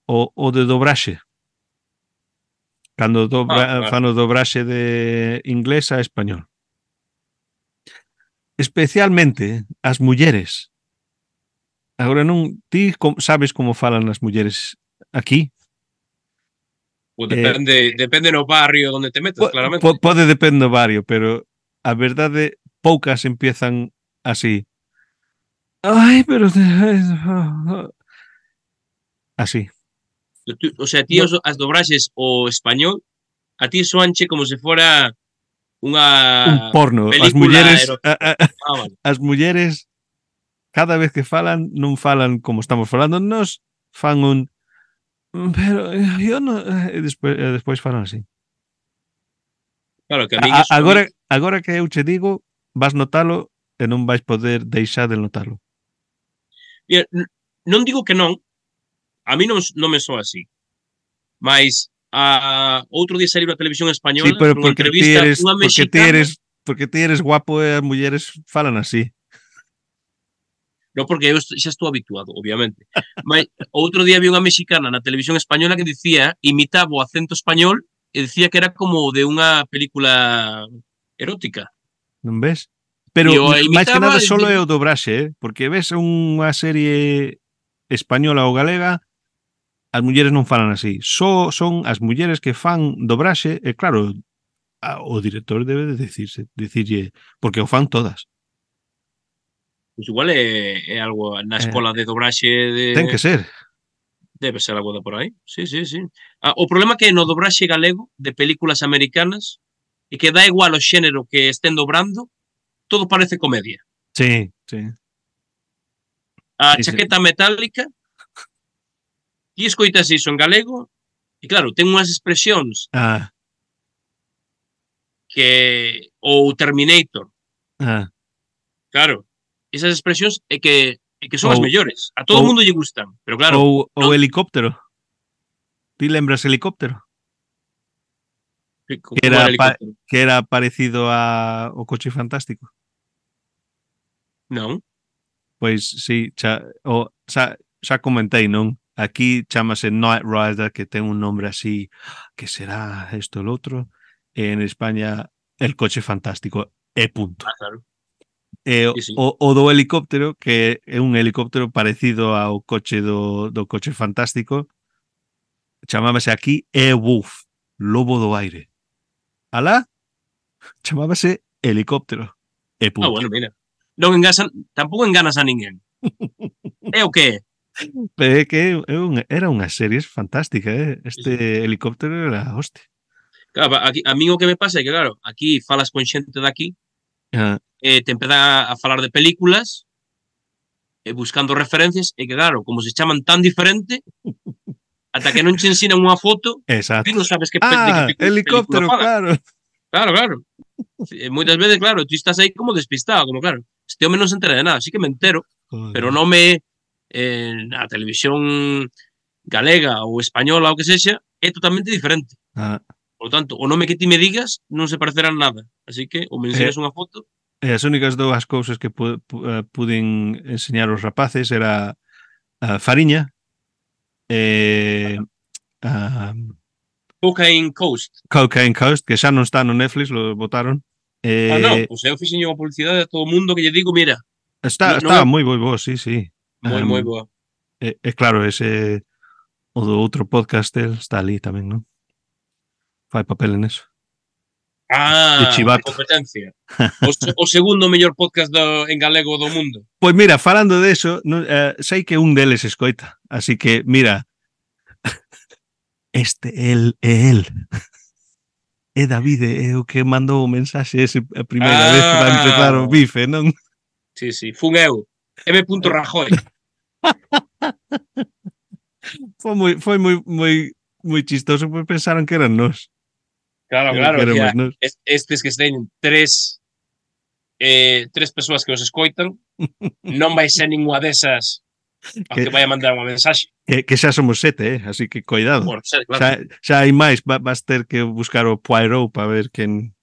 Speaker 1: O, o de dobraxe. Cando
Speaker 2: Ah,
Speaker 1: dobra,
Speaker 2: claro.
Speaker 1: fan o dobraxe de inglés a español especialmente as mulleres. Agora non ti com, sabes como falan as mulleres aquí?
Speaker 2: Pois depende, depende no barrio onde te metas,
Speaker 1: Po-
Speaker 2: claramente.
Speaker 1: po- pode depende do barrio, pero a verdade poucas empiezan así. Ai, pero así.
Speaker 2: Tú- O sea, ti
Speaker 1: No.
Speaker 2: os, as dobraxes o español a ti soanche como se fora
Speaker 1: Un
Speaker 2: unha
Speaker 1: porno, as
Speaker 2: Ah, película
Speaker 1: mulleres
Speaker 2: erótica.
Speaker 1: a, a,
Speaker 2: Ah, vale.
Speaker 1: as mulleres cada vez que falan non falan como estamos falando nos fan un pero eh, yo no e despois, e despois falan así
Speaker 2: Claro, que a min
Speaker 1: a,
Speaker 2: iso-
Speaker 1: agora, agora que eu che digo vas notalo e non vais poder deixar de notalo
Speaker 2: Mira, n- non digo que non, a mí non, non me soa así. Mais a outro día saiu na televisión española
Speaker 1: sí, pero
Speaker 2: nunha
Speaker 1: porque ti
Speaker 2: entrevista
Speaker 1: eres
Speaker 2: unha
Speaker 1: porque ti
Speaker 2: mexicana-
Speaker 1: eres porque ti eres guapo e as mulleres falan así
Speaker 2: No, porque eu est- xa estou habituado, obviamente. Mas outro día vi unha mexicana na televisión española que dicía, imitaba o acento español e dicía que era como de unha película erótica.
Speaker 1: non ves? Pero
Speaker 2: E o
Speaker 1: máis que
Speaker 2: imitaba
Speaker 1: nada
Speaker 2: e
Speaker 1: solo é
Speaker 2: di-
Speaker 1: o dobraxe, eh? porque ves unha serie española ou galega as mulleres non falan así, só son as mulleres que fan dobraxe, e claro, a, o director debe de decirse, dicirlle, porque o fan todas,
Speaker 2: Pois igual é, é algo
Speaker 1: Eh,
Speaker 2: na escola de dobraxe de...
Speaker 1: ten que ser.
Speaker 2: Debe ser algo de por aí. Sí, sí, sí. Ah, o problema que é no dobraxe galego de películas americanas e que dá igual o xénero que estén dobrando, todo parece comedia.
Speaker 1: Sí, sí.
Speaker 2: A
Speaker 1: Sí, sí.
Speaker 2: chaqueta metálica e escoitas iso en galego e claro, ten unhas expresións
Speaker 1: Ah,
Speaker 2: que ou Terminator,
Speaker 1: ah.
Speaker 2: claro. Esas expresións é que é que son as
Speaker 1: Ou-
Speaker 2: mellores. A todo o
Speaker 1: ou-
Speaker 2: mundo lle gustan, pero claro,
Speaker 1: ou, ou
Speaker 2: non-
Speaker 1: helicóptero. Ti lembras helicóptero?
Speaker 2: como
Speaker 1: era
Speaker 2: era
Speaker 1: pa-
Speaker 2: helicóptero.
Speaker 1: Que era parecido a o coche fantástico.
Speaker 2: Non.
Speaker 1: Pois sí, xa, o, xa, xa comentei, non? Aquí chamase Night Rider, que ten un nombre así, que será isto ou outro. E en España, el coche fantástico, e punto.
Speaker 2: Ah, claro.
Speaker 1: E, o-
Speaker 2: Sí, sí.
Speaker 1: o, o do helicóptero, que é un helicóptero parecido ao coche do, do coche fantástico, chamábase aquí E-Wolf, lobo do aire. Alá, chamábase helicóptero. E
Speaker 2: Ah,
Speaker 1: punto.
Speaker 2: bueno, mira. Non engasan, tampouco enganas a ninguén. É o que é.
Speaker 1: Pero é que é un- era unha serie fantástica, eh? Este helicóptero era a hostia.
Speaker 2: Claro, aquí, a mí o que me pasa é que, claro, aquí falas con xente daqui,
Speaker 1: Ah,
Speaker 2: eh, te empeza a falar de películas, eh, buscando referencias, e que, claro, como se chaman tan diferente, ata que non che ensinan unha foto,
Speaker 1: exacto.
Speaker 2: ti non sabes que, pe-
Speaker 1: Ah,
Speaker 2: de que pe-
Speaker 1: helicóptero,
Speaker 2: película falan.
Speaker 1: claro.
Speaker 2: Claro, claro. Eh, moitas veces, claro, tú estás aí como despistado, como, claro, este home non se entera de nada, así que me entero,
Speaker 1: Joder.
Speaker 2: pero non me... Eh, a televisión galega ou española ou que sexa, é totalmente diferente.
Speaker 1: Ah,
Speaker 2: Por lo tanto, o nome que ti me digas non se parecerá en nada. Así que, ou me ensinas unha foto,
Speaker 1: e eh, as únicas dúas cousas que pu, pu, eh, puden enseñar os rapaces era a Fariña e a
Speaker 2: Cocaine Coast.
Speaker 1: Cocaine Coast, que xa non está no Netflix, lo botaron. Eh,
Speaker 2: Ah, non, pois eu fixen unha publicidade a todo o mundo que lle digo, mira,
Speaker 1: Está,
Speaker 2: No-
Speaker 1: está
Speaker 2: non-
Speaker 1: moi, moi bo, sí, sí.
Speaker 2: moi,
Speaker 1: Ah,
Speaker 2: moi boa.
Speaker 1: E, e claro, ese o do outro podcast del está ali tamén, non? Fai papel en eso.
Speaker 2: Ah,
Speaker 1: De chivato.
Speaker 2: a competencia. O, se- o segundo mellor podcast do, en galego do mundo.
Speaker 1: Pois mira, falando de eso, non, eh, sei que un deles escoita, así que mira, este el é el. É Davide, é o que mandou o mensaxe ese a primeira
Speaker 2: Ah.
Speaker 1: vez que vai empezar o bife, non?
Speaker 2: Sí, sí, fun eu. M. Rajoy.
Speaker 1: Foi moi foi moi moi moi chistoso, pois pensaron que eran nós.
Speaker 2: Ah, Claro,
Speaker 1: que
Speaker 2: claro.
Speaker 1: éramos
Speaker 2: Ya,
Speaker 1: nós.
Speaker 2: es- estes que teñen tres eh, tres persoas que os escoitan, non vai ser ninguna desas a que
Speaker 1: Que-
Speaker 2: vai a mandar unha mensaxe.
Speaker 1: Que, que xa somos sete, eh? así que cuidado.
Speaker 2: Por ser, claro.
Speaker 1: Xa, xa hai máis, va- vas ter que buscar o Poirot para ver quen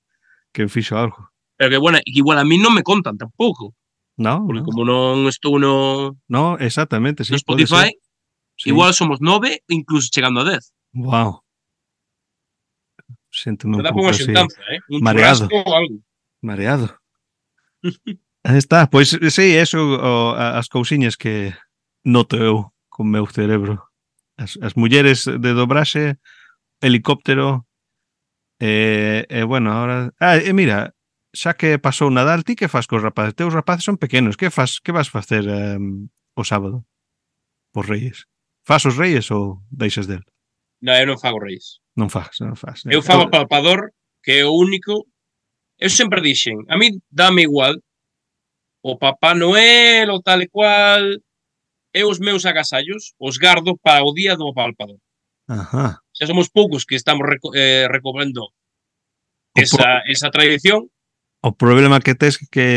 Speaker 1: quen fixo algo.
Speaker 2: Pero que, bueno, igual a mí non me contan tampouco,
Speaker 1: No,
Speaker 2: porque
Speaker 1: no,
Speaker 2: como non estou no,
Speaker 1: no exactamente, Ah. sí,
Speaker 2: no
Speaker 1: pode
Speaker 2: Spotify,
Speaker 1: ser, sí.
Speaker 2: igual somos nove, incluso chegando a dez.
Speaker 1: Wow. Siéntome un
Speaker 2: Me dá
Speaker 1: pouco
Speaker 2: unha
Speaker 1: así,
Speaker 2: xuntanza, eh? Un
Speaker 1: mareado.
Speaker 2: churrasco ou algo.
Speaker 1: mareado. Aí está, pois sí, eso o, a- as cousiñas que noto eu con meu cerebro. As, as mulleres de dobraxe, helicóptero, e, e bueno, ahora... Ah, e mira, xa que pasou Nadal, ti que fas cos rapaces? Teus rapaces son pequenos, que fas que vas facer um, o sábado? Os reis. Fas os reis ou deixas del?
Speaker 2: Non, eu non fago reis.
Speaker 1: Non fas, non fas. eh?
Speaker 2: Eu fago palpador, que é o único. Eu sempre dixen, a mí dame igual o Papá Noel o tal e cual. Eu os meus agasallos os gardo para o día do palpador.
Speaker 1: Ajá.
Speaker 2: Xa somos poucos que estamos reco eh, recobrando esa, esa tradición.
Speaker 1: O problema que tes é que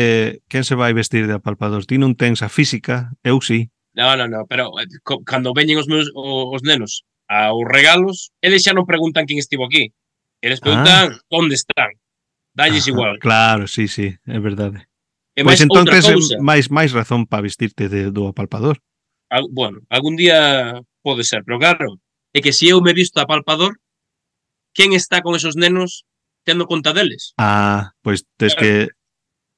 Speaker 1: quen se vai vestir de apalpador? Ti non tens a física, eu sí.
Speaker 2: No, no, no, pero eh, co- cando veñen os meus o, os nenos aos regalos, eles xa non preguntan quen estivo aquí. Eles preguntan ah. onde están. Dalles
Speaker 1: Ajá,
Speaker 2: igual.
Speaker 1: Claro, sí, sí, é verdade.
Speaker 2: E
Speaker 1: pois
Speaker 2: máis
Speaker 1: entón
Speaker 2: outra
Speaker 1: tes
Speaker 2: cousa.
Speaker 1: máis máis razón para vestirte de, do apalpador.
Speaker 2: Al, bueno, algún día pode ser, pero claro, é que se eu me visto a palpador, quen está con esos nenos tendo conta deles?
Speaker 1: Ah, pois tes
Speaker 2: Claro.
Speaker 1: que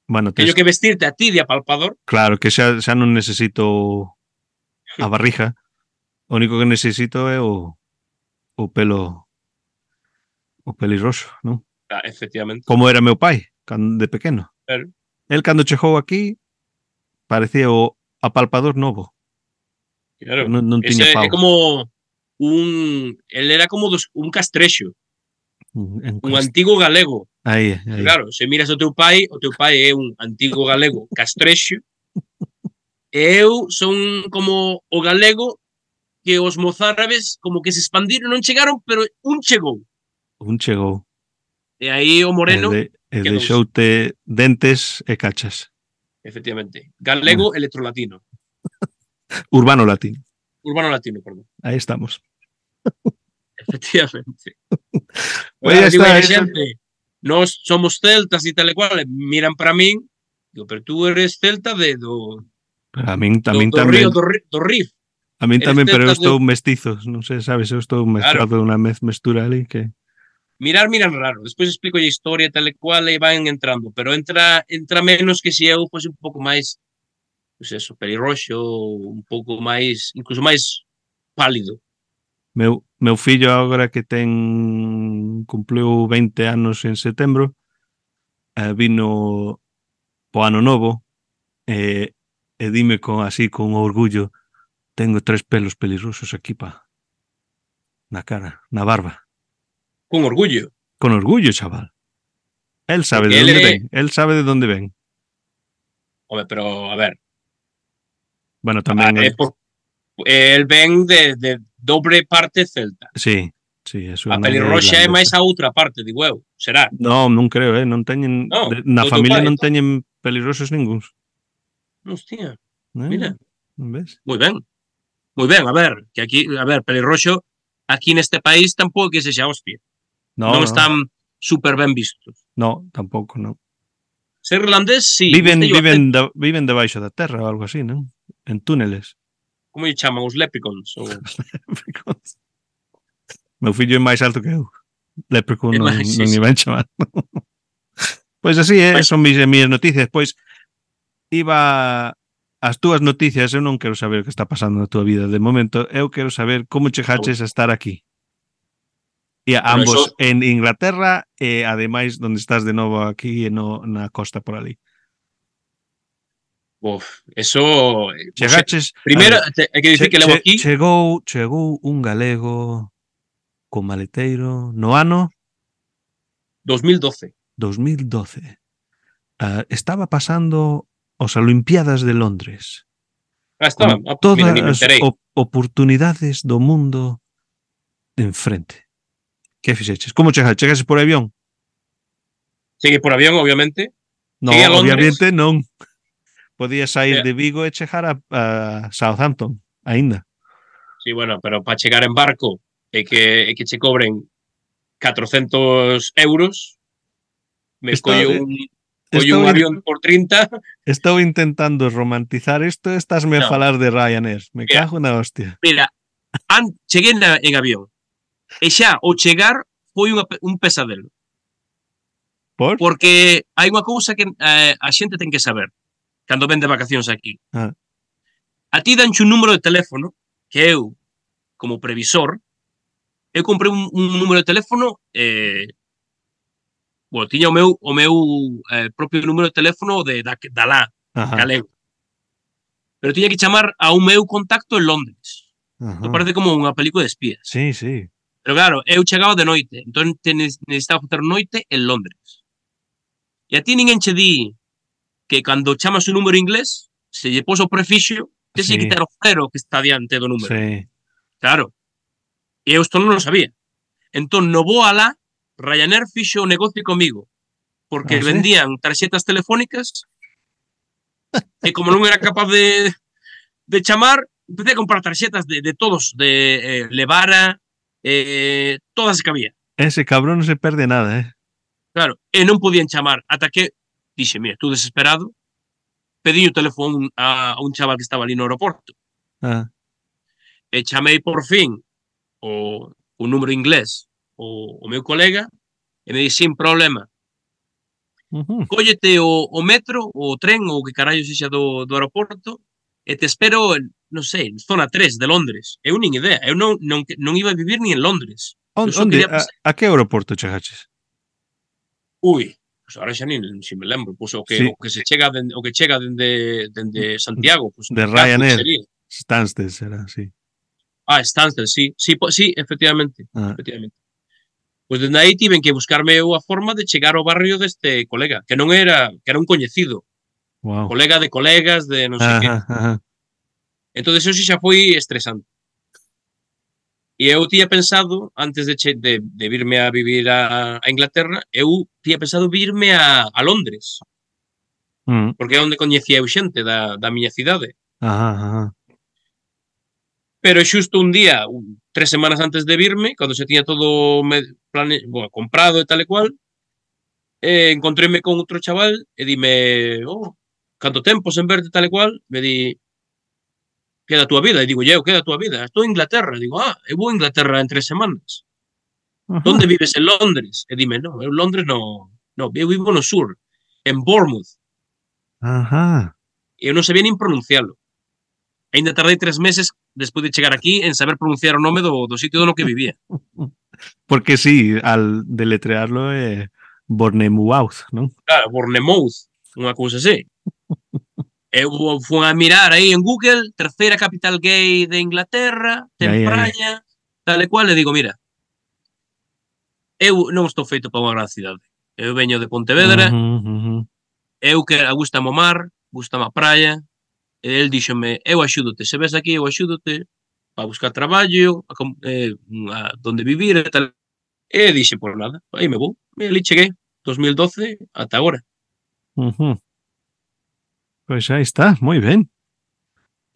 Speaker 1: bueno, tes,
Speaker 2: Teño que vestirte a ti de apalpador,
Speaker 1: claro que xa xa non necesito a barriga. O único que necesito é o o pelo o pelirroxo, non?
Speaker 2: ah, efectivamente.
Speaker 1: como era meu pai cando de pequeno.
Speaker 2: Claro.
Speaker 1: El cando chegou aquí parecía o apalpador novo,
Speaker 2: Claro.
Speaker 1: non, non tiña
Speaker 2: Ese é
Speaker 1: pau.
Speaker 2: como un el era como dos, un castrexo,
Speaker 1: Mm, En
Speaker 2: un
Speaker 1: cas-
Speaker 2: antigo galego.
Speaker 1: Aí, aí.
Speaker 2: Claro, se miras o teu pai, o teu pai é un antigo galego castrexo. E eu son como o galego que os mozárabes como que se expandiron, non chegaron, pero un chegou.
Speaker 1: Un chegou.
Speaker 2: E aí o Moreno,
Speaker 1: e, de, e
Speaker 2: quedouse.
Speaker 1: deixoute dentes e cachas.
Speaker 2: efectivamente, galego
Speaker 1: Mm.
Speaker 2: electrolatino,
Speaker 1: Urbano latín.
Speaker 2: urbano latino, perdón.
Speaker 1: Aí estamos.
Speaker 2: Efectivamente.
Speaker 1: Pois ya
Speaker 2: Ahora digo
Speaker 1: está,
Speaker 2: a
Speaker 1: eso.
Speaker 2: xente, nós somos celtas e tal e cual, e miran para min, digo, pero tú eres celta de do,
Speaker 1: Pero a min
Speaker 2: do,
Speaker 1: tamén
Speaker 2: do
Speaker 1: tamén,
Speaker 2: río, do, ri- do Rif.
Speaker 1: a min
Speaker 2: eres
Speaker 1: tamén, pero eu
Speaker 2: celta
Speaker 1: estou mestizo, non sei, sabes, eu estou mezclado claro. unha mez mestura ali que
Speaker 2: Mirar, miran raro. Despois explico a historia e tal e cual e van entrando, pero entra entra menos que se eu fose un pouco máis pois pues eso, pelirroxo, un pouco máis, incluso máis pálido.
Speaker 1: Meu, meu fillo agora que ten cumpliu 20 anos en setembro eh, vino po ano novo e, e dime con así con orgullo tengo tres pelos pelirrosos aquí pa na cara, na barba
Speaker 2: Con orgullo.
Speaker 1: con orgullo, chaval el sabe de
Speaker 2: Porque él
Speaker 1: onde
Speaker 2: é-
Speaker 1: ven el sabe de onde ven
Speaker 2: Home, pero, a ver,
Speaker 1: bueno,
Speaker 2: Ah,
Speaker 1: tamén el,
Speaker 2: eh, por- el ven de, de dobre parte celta.
Speaker 1: sí, sí, eso
Speaker 2: A pelirroxa é máis a outra parte, digo eu. Será?
Speaker 1: No, non creo, eh, non teñen
Speaker 2: No,
Speaker 1: de, na
Speaker 2: do teu
Speaker 1: familia
Speaker 2: pai,
Speaker 1: non
Speaker 2: entón.
Speaker 1: teñen pelirrosos ningúns,
Speaker 2: Hostia,
Speaker 1: eh?
Speaker 2: mira,
Speaker 1: ves?
Speaker 2: moi ben. Moi ben, a ver, que aquí, a ver, pelirroxo aquí neste país tampouco é que sexa hostia.
Speaker 1: No, no,
Speaker 2: non están super ben vistos.
Speaker 1: no, tampouco, non.
Speaker 2: Ser irlandés, sí.
Speaker 1: Viven
Speaker 2: este yo
Speaker 1: viven da, viven debaixo da terra ou algo así, non? En túneles.
Speaker 2: acepto. Como lle chaman os leprechauns? Ou...
Speaker 1: Meu fillo é máis alto que eu. Leprechaun
Speaker 2: É
Speaker 1: non,
Speaker 2: máis, sí,
Speaker 1: non
Speaker 2: sí.
Speaker 1: iban chamar. pois así, eh,
Speaker 2: Pois-
Speaker 1: son mis, mis noticias. Pois iba a as túas noticias, eu non quero saber o que está pasando na túa vida de momento, eu quero saber como chegaches a estar aquí. E a
Speaker 2: Bueno,
Speaker 1: ambos
Speaker 2: eso-
Speaker 1: en Inglaterra e ademais onde estás de novo aquí e no, na costa por ali.
Speaker 2: Uf, eso. eh,
Speaker 1: Chegaches,
Speaker 2: Primero,
Speaker 1: a
Speaker 2: te- hay que decir
Speaker 1: che-
Speaker 2: que levo
Speaker 1: che-
Speaker 2: aquí.
Speaker 1: Chegou, chegou un galego con maleteiro no ano
Speaker 2: 2012.
Speaker 1: 2012. Ah, estaba pasando as Olimpiadas de Londres.
Speaker 2: Ah, estaba.
Speaker 1: con
Speaker 2: Ah, pues
Speaker 1: todas
Speaker 2: mira, ni me
Speaker 1: as
Speaker 2: enteré.
Speaker 1: op- oportunidades do mundo de enfrente. Que fixeches? Como chegaches? Chegaches por avión?
Speaker 2: Llegué por avión, obviamente.
Speaker 1: No,
Speaker 2: Cheguei a Londres.
Speaker 1: obviamente non. Podías sair
Speaker 2: Eh.
Speaker 1: de Vigo e chegar a, a Southampton, aínda.
Speaker 2: Sí, bueno, pero para chegar en barco e que, e que che cobren 400 euros, me
Speaker 1: Está-
Speaker 2: collo un, collo
Speaker 1: Estou,
Speaker 2: un
Speaker 1: in-
Speaker 2: avión por 30.
Speaker 1: estou intentando romantizar isto, estásme a
Speaker 2: No.
Speaker 1: falar de Ryanair. Me
Speaker 2: Mira.
Speaker 1: cago na hostia.
Speaker 2: Mira, an, cheguei na, en avión. E xa, o chegar foi unha, pe- un pesadelo.
Speaker 1: Por?
Speaker 2: Pues, Porque hai unha cousa que eh, a xente ten que saber cando ven de vacacións aquí.
Speaker 1: Ah.
Speaker 2: A ti danche un número de teléfono que eu, como previsor, eu comprei un, un número de teléfono eh, bueno, tiña o meu, o meu eh, propio número de teléfono de, da, da lá,
Speaker 1: Ajá,
Speaker 2: galego. Pero tiña que chamar a un meu contacto en Londres.
Speaker 1: ajá.
Speaker 2: Me parece como unha película de espías.
Speaker 1: Sí, sí.
Speaker 2: Pero claro, eu chegaba de noite, entón te ne- necesitaba facer noite en Londres. E a ti ninguén che di que cando chamas un número inglés, se lle pos o prefixo, tes
Speaker 1: Sí.
Speaker 2: que quitar o cero que está diante do número.
Speaker 1: sí.
Speaker 2: Claro. E eu isto non o sabía. Entón, no vou alá, Ryanair fixo o negocio comigo, porque
Speaker 1: Ah, sí?
Speaker 2: vendían tarxetas telefónicas e como non era capaz de, de chamar, empecé a comprar tarxetas de, de todos, de eh, Levara, eh, todas que había.
Speaker 1: Ese cabrón non se perde nada, eh?
Speaker 2: Claro, e non podían chamar, ata que dixe, mira, tú desesperado, pedí o teléfono a, a un chaval que estaba ali no aeroporto.
Speaker 1: Ah,
Speaker 2: e chamei por fin o, o número inglés o, o meu colega e me di sin problema
Speaker 1: ujú.
Speaker 2: cóllete o, o metro o tren ou o que carallo sexa do, do aeroporto e te espero en, non sei, en zona 3 de Londres eu nin idea, eu non, non, non iba a vivir ni en Londres
Speaker 1: On-
Speaker 2: só
Speaker 1: Onde,
Speaker 2: quería
Speaker 1: a,
Speaker 2: pasar-
Speaker 1: a que aeroporto chegaches?
Speaker 2: ui, pois ahora xa nin se me lembro pois, o, que,
Speaker 1: Sí. Mm,
Speaker 2: o que se chega dende, o que chega dende, dende Santiago pois,
Speaker 1: De
Speaker 2: Gatwick
Speaker 1: Ryanair.
Speaker 2: sería.
Speaker 1: Stansted será, sí.
Speaker 2: Ah, Stansted, sí. Sí, po- sí efectivamente.
Speaker 1: Ah.
Speaker 2: efectivamente. Pois dende aí tiven que buscarme eu a forma de chegar ao barrio deste colega, que non era, que era un coñecido,
Speaker 1: Wow.
Speaker 2: colega de colegas, de non sei que.
Speaker 1: Ajá, ajá.
Speaker 2: Entón, eso sí xa foi estresante. E eu tiña pensado, antes de, che, de, de virme a vivir a, a Inglaterra, eu tiña pensado virme a, a Londres,
Speaker 1: Mm,
Speaker 2: porque é onde coñecía eu xente da, da miña cidade.
Speaker 1: ajá, ajá.
Speaker 2: Pero xusto un día, un, tres semanas antes de virme, cando se tiña todo me, plane, bueno, comprado e tal e cual, eh, encontréme con outro chaval e dime, oh, canto tempo sen verte tal e cual, me di, queda a túa vida, e digo, eu, queda a túa vida, estou en Inglaterra, e digo, ah, eu vou a Inglaterra en tres semanas,
Speaker 1: Ajá.
Speaker 2: donde vives en Londres? E dime, no, eu en Londres no, no, eu vivo no sur, en Bournemouth,
Speaker 1: Ajá.
Speaker 2: e eu non sabía nin pronuncialo. Ainda tardei tres meses despois de chegar aquí en saber pronunciar o nome do, do sitio no que vivía.
Speaker 1: Porque sí, al deletrearlo eh, é Bornemouth, non?
Speaker 2: claro, Bournemouth, unha cousa así. Eu vou- fui a mirar aí en Google, terceira capital gay de Inglaterra, ten
Speaker 1: Ai, ai, ai.
Speaker 2: praia, tal e cual, e digo, mira, eu non estou feito para unha gran cidade. Eu veño de Pontevedra, uh -huh.
Speaker 1: Ujú, ujú.
Speaker 2: eu que gusta o mar, gusta a praia, e el díxome, eu axúdote, se ves aquí, eu axúdote para buscar traballo, a, com- eh, a donde vivir e tal. E dixe, por nada, aí me vou. E ali cheguei, 2012 ata agora.
Speaker 1: Ujú. Pois aí está, moi ben.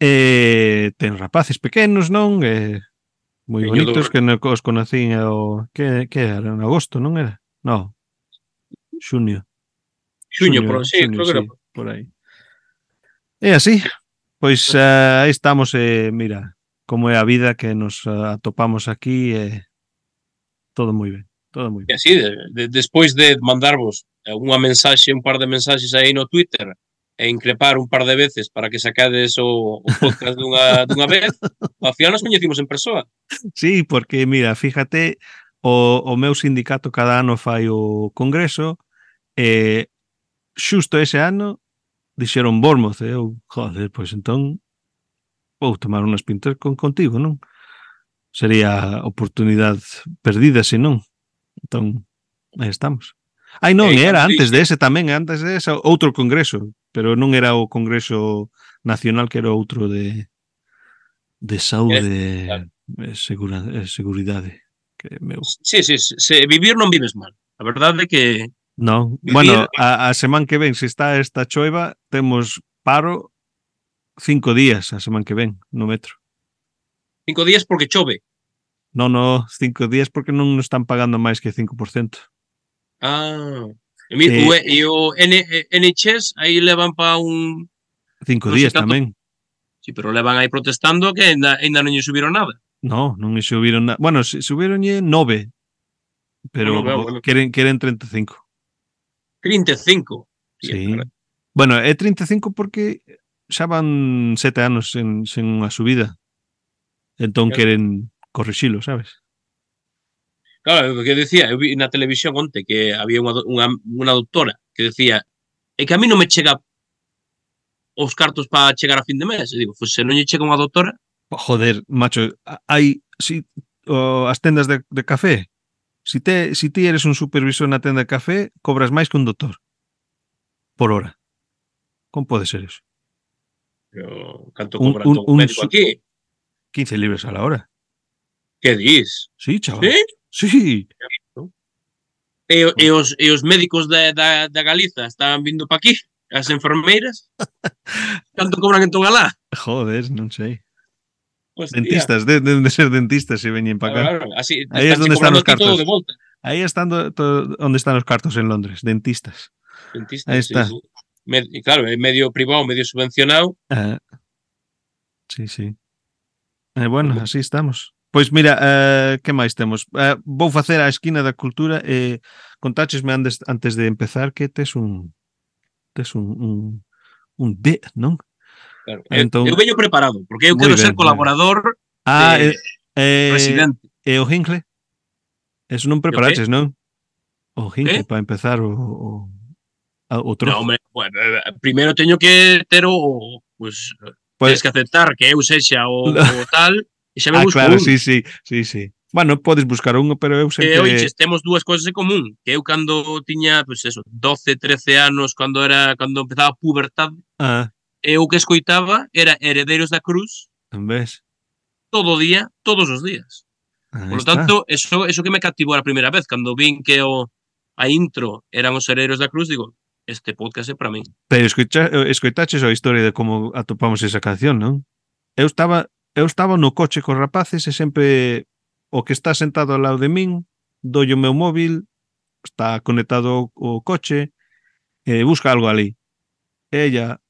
Speaker 1: Eh, ten rapaces pequenos, non? Eh, moi
Speaker 2: Teño
Speaker 1: bonitos
Speaker 2: dous.
Speaker 1: que no, os conocín o que que era en agosto, non era? No. Xuño.
Speaker 2: Xuño, por, sí,
Speaker 1: xuño,
Speaker 2: creo que era
Speaker 1: sí, por aí. É así. Pois ah, aí estamos, eh, mira, como é a vida que nos ah, atopamos aquí, eh, todo moi ben, todo moi ben.
Speaker 2: E así, de, de, despois de mandarvos unha mensaxe, un par de mensaxes aí no Twitter, e increpar un par de veces para que sacades o, o podcast dunha, dunha vez, ao final nos coñecimos en persoa.
Speaker 1: Sí, porque mira, fíjate, o, o meu sindicato cada ano fai o congreso e xusto ese ano dixeron Bormoz, e eu, joder, pois entón vou tomar unhas pintas con contigo, non? Sería oportunidade perdida, se non. Entón, aí estamos. Ai, non,
Speaker 2: Eh,
Speaker 1: era antes
Speaker 2: Francisco.
Speaker 1: dese tamén, antes dese outro congreso, pero non era o congreso nacional que era outro de de saúde
Speaker 2: claro.
Speaker 1: e segura, e seguridade que meu
Speaker 2: Sí, sí, sí, se vivir non vives mal. A verdade é que
Speaker 1: No,
Speaker 2: Vivir-
Speaker 1: bueno, a, a semana que ven, se está esta choiva, temos paro cinco días a semana que ven no metro.
Speaker 2: cinco días porque chove.
Speaker 1: No, no, cinco días porque non nos están pagando máis que 5%.
Speaker 2: Ah, e, mi,
Speaker 1: Eh,
Speaker 2: o, e o N, eh, NHS aí levan para un...
Speaker 1: Cinco
Speaker 2: Non
Speaker 1: días
Speaker 2: sei canto-
Speaker 1: tamén.
Speaker 2: Sí, pero levan aí protestando que ainda, ainda non lle subiron nada.
Speaker 1: No, non lle subiron nada. Bueno, se- subíronlle nove, pero
Speaker 2: Bueno, bueno, bueno.
Speaker 1: queren, queren 35.
Speaker 2: 35. Tía,
Speaker 1: Sí.
Speaker 2: caray.
Speaker 1: Bueno, E é 35 porque xa van sete anos sen, sen unha subida. Entón
Speaker 2: Claro.
Speaker 1: queren corrixilo, sabes?
Speaker 2: Claro, o que decía, eu vi na televisión onte que había unha, do- unha, unha doutora que decía é que a mí non me chega os cartos para chegar a fin de mes. E digo, pois se non lle chega unha doutora,
Speaker 1: Oh, Joder, macho, a- hai si o, as tendas de, de café. Si te si ti eres un supervisor na tenda de café, cobras máis que un doutor por hora. Como pode ser eso?
Speaker 2: pero canto
Speaker 1: Un-
Speaker 2: cobra
Speaker 1: un-
Speaker 2: todo
Speaker 1: un
Speaker 2: médico
Speaker 1: su-
Speaker 2: aquí?
Speaker 1: 15 libras a la hora.
Speaker 2: Que dis?
Speaker 1: Sí,
Speaker 2: Sí?
Speaker 1: chaval. Sí.
Speaker 2: E, o- e, os, e os médicos da, da, da Galiza están vindo para aquí? As enfermeiras? Canto cobran en Tongalá?
Speaker 1: Joder, non sei.
Speaker 2: Hostia,
Speaker 1: Dentistas, de, de, de ser dentistas se veñen para acá.
Speaker 2: Claro, claro, así,
Speaker 1: Ahí es
Speaker 2: están
Speaker 1: donde están
Speaker 2: cobrando
Speaker 1: los
Speaker 2: aquí todo
Speaker 1: cartos.
Speaker 2: de volta.
Speaker 1: Aí están do, to, onde están os cartos en Londres, dentistas.
Speaker 2: Dentista,
Speaker 1: Ahí
Speaker 2: sí,
Speaker 1: está.
Speaker 2: sí. Med- e claro, é medio privado, medio subvencionado.
Speaker 1: Ah, sí, sí. E bueno, así estamos. Pois mira, eh, que máis temos? Eh, vou facer a esquina da cultura e contáchesme antes, antes de empezar que tes un tes un un, un D, non?
Speaker 2: Claro.
Speaker 1: Ah, entón-
Speaker 2: Eu, eu veño preparado, porque eu
Speaker 1: Moi
Speaker 2: quero
Speaker 1: ben,
Speaker 2: ser
Speaker 1: moi
Speaker 2: colaborador
Speaker 1: Ah, eh,
Speaker 2: de
Speaker 1: eh,
Speaker 2: residente.
Speaker 1: e o Hingle? Eso non preparaches, non? O Hingle, para empezar o, o, a- o
Speaker 2: ¿Eh? No,
Speaker 1: trozo.
Speaker 2: hombre, bueno, eh, primeiro teño que ter o, pues,
Speaker 1: Pois-
Speaker 2: pues, tens que aceptar que eu sexa o,
Speaker 1: No.
Speaker 2: o tal, e xa me
Speaker 1: ah,
Speaker 2: busco
Speaker 1: claro,
Speaker 2: un.
Speaker 1: sí, sí, sí, sí. Bueno, podes buscar un, pero eu
Speaker 2: Que,
Speaker 1: sempre...
Speaker 2: oiches, temos dúas cousas en común, que eu cando tiña, pues eso, 12, 13 anos, cando era cando empezaba a pubertade,
Speaker 1: Ah,
Speaker 2: eu o que escoitaba era Heredeiros da Cruz
Speaker 1: ves?
Speaker 2: todo o día, todos os días.
Speaker 1: Ahí
Speaker 2: Por lo
Speaker 1: está.
Speaker 2: tanto, eso, eso que me captivou a primeira vez, cando vin que o, a intro eran os Heredeiros da Cruz, digo, este podcast é para min.
Speaker 1: Pero escoita, escoitaches a historia de como atopamos esa canción, non? Eu estaba eu estaba no coche cos rapaces e sempre o que está sentado ao lado de min doi o meu móvil, está conectado o coche e busca algo ali. Ella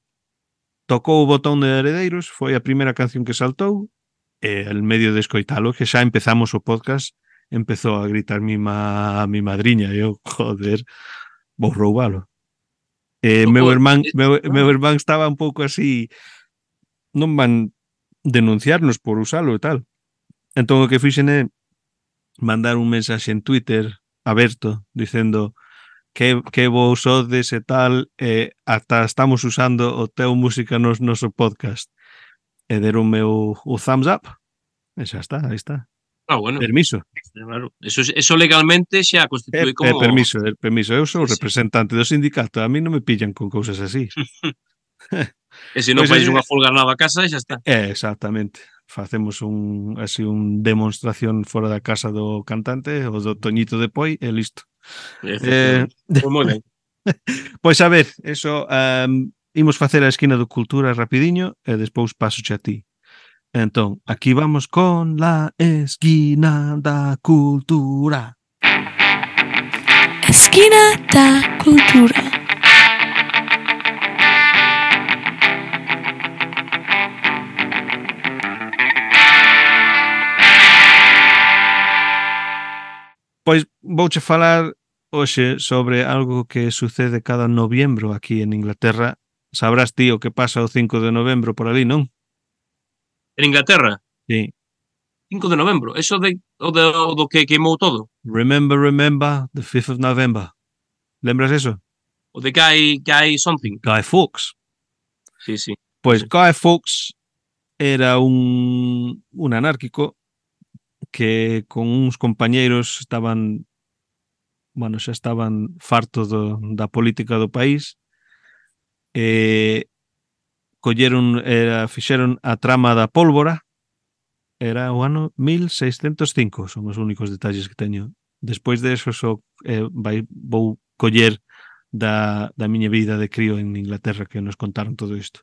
Speaker 1: tocou o botón de heredeiros, foi a primeira canción que saltou e al medio de escoitalo que xa empezamos o podcast empezou a gritar mi, ma, mi madriña e eu, joder, vou roubalo. Eh,
Speaker 2: Ojo,
Speaker 1: meu irmán,
Speaker 2: es-
Speaker 1: meu, meu irmán estaba un pouco así non van denunciarnos por usalo e tal. Entón o que fixen é mandar un mensaxe en Twitter aberto dicendo que, que vos sodes e tal e ata estamos usando o teu música no noso podcast e deron meu o thumbs up e xa está, aí está
Speaker 2: Ah, bueno.
Speaker 1: permiso,
Speaker 2: Claro, eso, eso legalmente xa
Speaker 1: é, é
Speaker 2: constitúe como...
Speaker 1: Eh, permiso, é permiso eu sou
Speaker 2: Sí, sí.
Speaker 1: representante do sindicato a mí non me pillan con cousas así
Speaker 2: E se non
Speaker 1: Pois
Speaker 2: fais
Speaker 1: é.
Speaker 2: unha folga nova a casa, xa está.
Speaker 1: É, Eh, exactamente. Facemos un así un demostración fora da casa do cantante, o do Toñito de Poi, e listo. Eh,
Speaker 2: Efectivamente. Pois moi ben.
Speaker 1: pois a ver, eso um, imos facer a esquina do cultura rapidiño e despois paso a ti. Entón, aquí vamos con la esquina da cultura.
Speaker 3: Esquina da Cultura.
Speaker 1: Pois vouche falar hoxe sobre algo que sucede cada noviembro aquí en Inglaterra Sabrás ti o que pasa o 5 de novembro por ali, non?
Speaker 2: En Inglaterra,
Speaker 1: Sí.
Speaker 2: 5 de novembro. Eso de, o de, o do que queimou todo.
Speaker 1: Remember, remember the 5th of November. Lembras eso?
Speaker 2: O de Guy, Guy something.
Speaker 1: Guy Fawkes.
Speaker 2: Sí, sí.
Speaker 1: Pois Guy Fawkes era un, un anárquico que con uns compañeiros estaban bueno, xa estaban fartos do, da política do país e colleron, era, fixeron a trama da pólvora era o ano 1605 son os únicos detalles que teño despois de eso só, eh, vai, vou coller da, da miña vida de crío en Inglaterra que nos contaron todo isto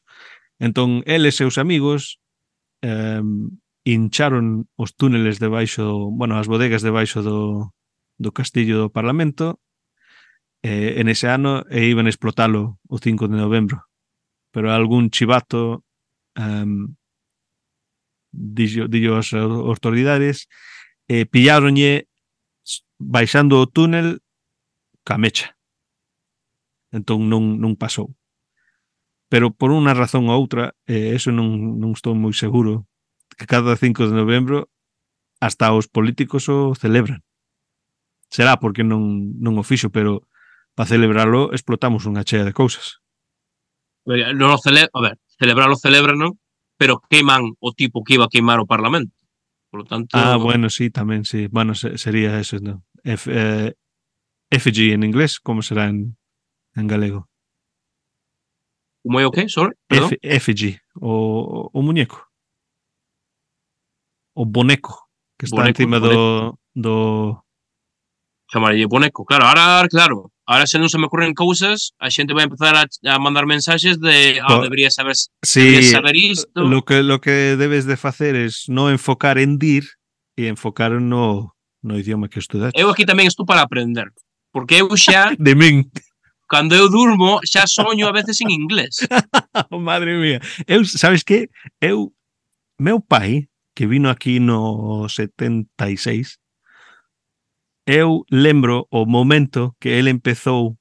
Speaker 1: Entón, el e seus amigos eh, hincharon os túneles debaixo, bueno, as bodegas debaixo do, do castillo do Parlamento eh, en ese ano e iban a explotalo o 5 de novembro. Pero algún chivato eh, dillo, dillo as autoridades e eh, pilláronlle s- baixando o túnel ca mecha. Entón non, non pasou pero por unha razón ou outra, eh, eso non, non estou moi seguro, que cada 5 de novembro hasta os políticos o celebran. Será porque non, non o fixo, pero para celebrarlo explotamos unha chea de cousas.
Speaker 2: Eh, Non o cele a ver, celebrarlo celebran, non? Pero queiman o tipo que iba a queimar o Parlamento. Por lo tanto,
Speaker 1: Ah, bueno, sí, tamén, sí. Bueno, se, sería eso, non? F, eh, FG en inglés, como será en, en galego?
Speaker 2: como é o que? Sorry,
Speaker 1: F,
Speaker 2: perdón.
Speaker 1: FG, o, o muñeco. O boneco, que está
Speaker 2: Boneco,
Speaker 1: encima do, do,
Speaker 2: chamarlle boneco. Claro, ahora, ahora, claro, ahora se non se me ocurren cousas, a xente vai empezar a, a mandar mensaxes de ah,
Speaker 1: Bo-
Speaker 2: debería saber,
Speaker 1: Sí,
Speaker 2: debería saber isto.
Speaker 1: lo que lo que debes de facer es no enfocar en dir e enfocar no no idioma que estudaste.
Speaker 2: Eu aquí tamén estou para aprender, porque eu xa,
Speaker 1: De min.
Speaker 2: cando eu durmo, xa soño a veces en inglés.
Speaker 1: Oh, madre mía. Eu, sabes que? Eu meu pai que vino aquí no 76 eu lembro o momento que el empezou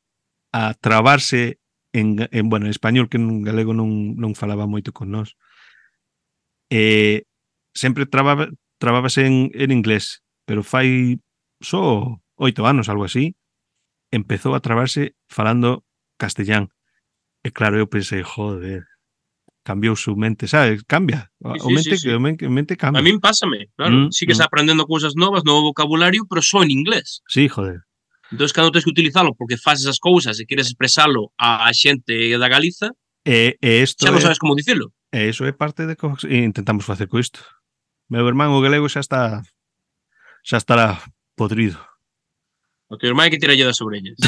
Speaker 1: a trabarse en, ga- en bueno, en español que en galego non, non falaba moito con nós. E sempre trababa, trabábase en, en inglés, pero fai só oito anos, algo así, empezou a trabarse falando castellán. E claro, eu pensei, joder, cambiou su mente, sabes? Cambia. A,
Speaker 2: Sí,
Speaker 1: o
Speaker 2: sí,
Speaker 1: mente,
Speaker 2: sí, sí.
Speaker 1: o men- o mente cambia.
Speaker 2: A min pásame,
Speaker 1: Mm,
Speaker 2: claro, sí
Speaker 1: mm.
Speaker 2: que está aprendendo cousas novas, novo vocabulario, pero só en inglés.
Speaker 1: Sí, joder.
Speaker 2: Entón, cando tens que utilizalo porque faz esas cousas e queres expresalo a xente da Galiza,
Speaker 1: E, e isto
Speaker 2: xa non
Speaker 1: é-
Speaker 2: sabes como dicilo.
Speaker 1: E iso é eh, parte de co que intentamos facer co isto. Meu irmán o galego xa está xa estará podrido.
Speaker 2: O teu irmán hai que tirarlle das orellas.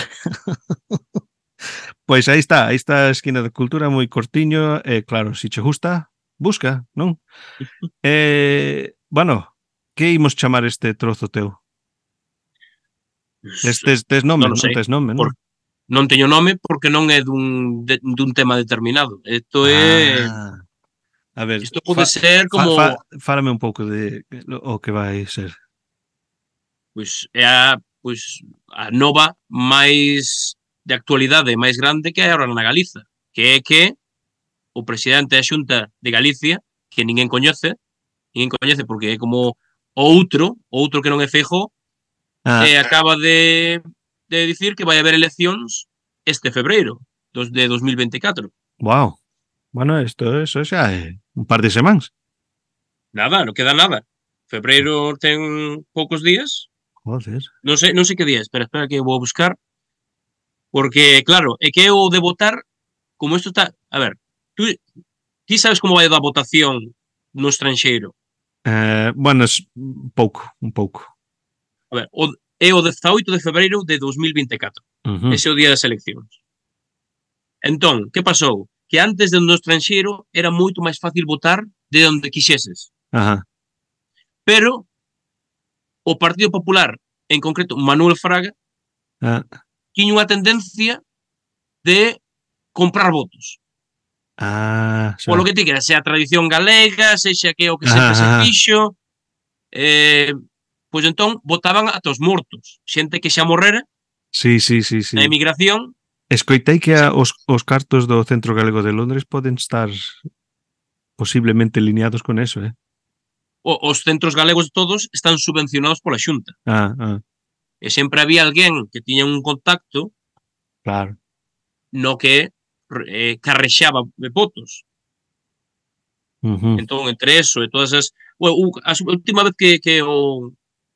Speaker 1: Pois aí está, aí está a esquina da cultura moi cortiño, e claro, se che gusta, busca, non? E, bueno, que imos chamar este trozo teu? Tes, tes, tes nome, non,
Speaker 2: Non lo
Speaker 1: non
Speaker 2: sei,
Speaker 1: tes nome, non?
Speaker 2: por- non teño nome porque non é dun, de, dun tema determinado. Isto é...
Speaker 1: Ah, a ver,
Speaker 2: Isto
Speaker 1: fa-
Speaker 2: pode ser como...
Speaker 1: fa, fa, fálame un pouco de lo- o que vai ser.
Speaker 2: Pois, é a, pois, a nova máis de actualidade máis grande que hai ahora na Galiza. Que é que o presidente da Xunta de Galicia, que ninguén coñece, ninguén coñece porque é como outro, outro que non é Feijó,
Speaker 1: Ah,
Speaker 2: e Eh, acaba de, de dicir que vai haber eleccións este febreiro dos- de 2024.
Speaker 1: wow. Bueno, isto eso xa é un par de semáns.
Speaker 2: Nada, non queda nada. Febreiro ten poucos días.
Speaker 1: Joder.
Speaker 2: Non sei, non sei que día, es, espera, espera que vou a buscar. Porque, claro, é que eu de votar, como isto está... A ver, tú, ti sabes como vai a da votación no estranxeiro.
Speaker 1: Eh, bueno, es un pouco, un pouco.
Speaker 2: A ver, o, é o 18 de febreiro de 2024.
Speaker 1: Ujú.
Speaker 2: Ese é o día das eleccións. Entón, que pasou? Que antes de no estranxeiro era moito máis fácil votar de onde quixeses.
Speaker 1: Ajá.
Speaker 2: Pero o Partido Popular, en concreto Manuel Fraga,
Speaker 1: Ah,
Speaker 2: tiña unha tendencia de comprar votos.
Speaker 1: ah, xa.
Speaker 2: Polo que ti queres, sea a tradición galega, sexa que é o que
Speaker 1: Ajá,
Speaker 2: sempre se
Speaker 1: ajá.
Speaker 2: fixo, eh, pois entón votaban ata os mortos, xente que xa morrera
Speaker 1: Sí, sí, sí, sí.
Speaker 2: Eh, na emigración,
Speaker 1: Escoitei que a, os, os cartos do Centro Galego de Londres poden estar posiblemente lineados con eso, eh?
Speaker 2: O, os centros galegos todos están subvencionados pola Xunta.
Speaker 1: Ah, ah,
Speaker 2: E sempre había alguén que tiña un contacto
Speaker 1: claro.
Speaker 2: no que eh, carrexaba votos.
Speaker 1: Ujú.
Speaker 2: Entón, entre eso e todas as... Bueno, u- a su- a última vez que, que o,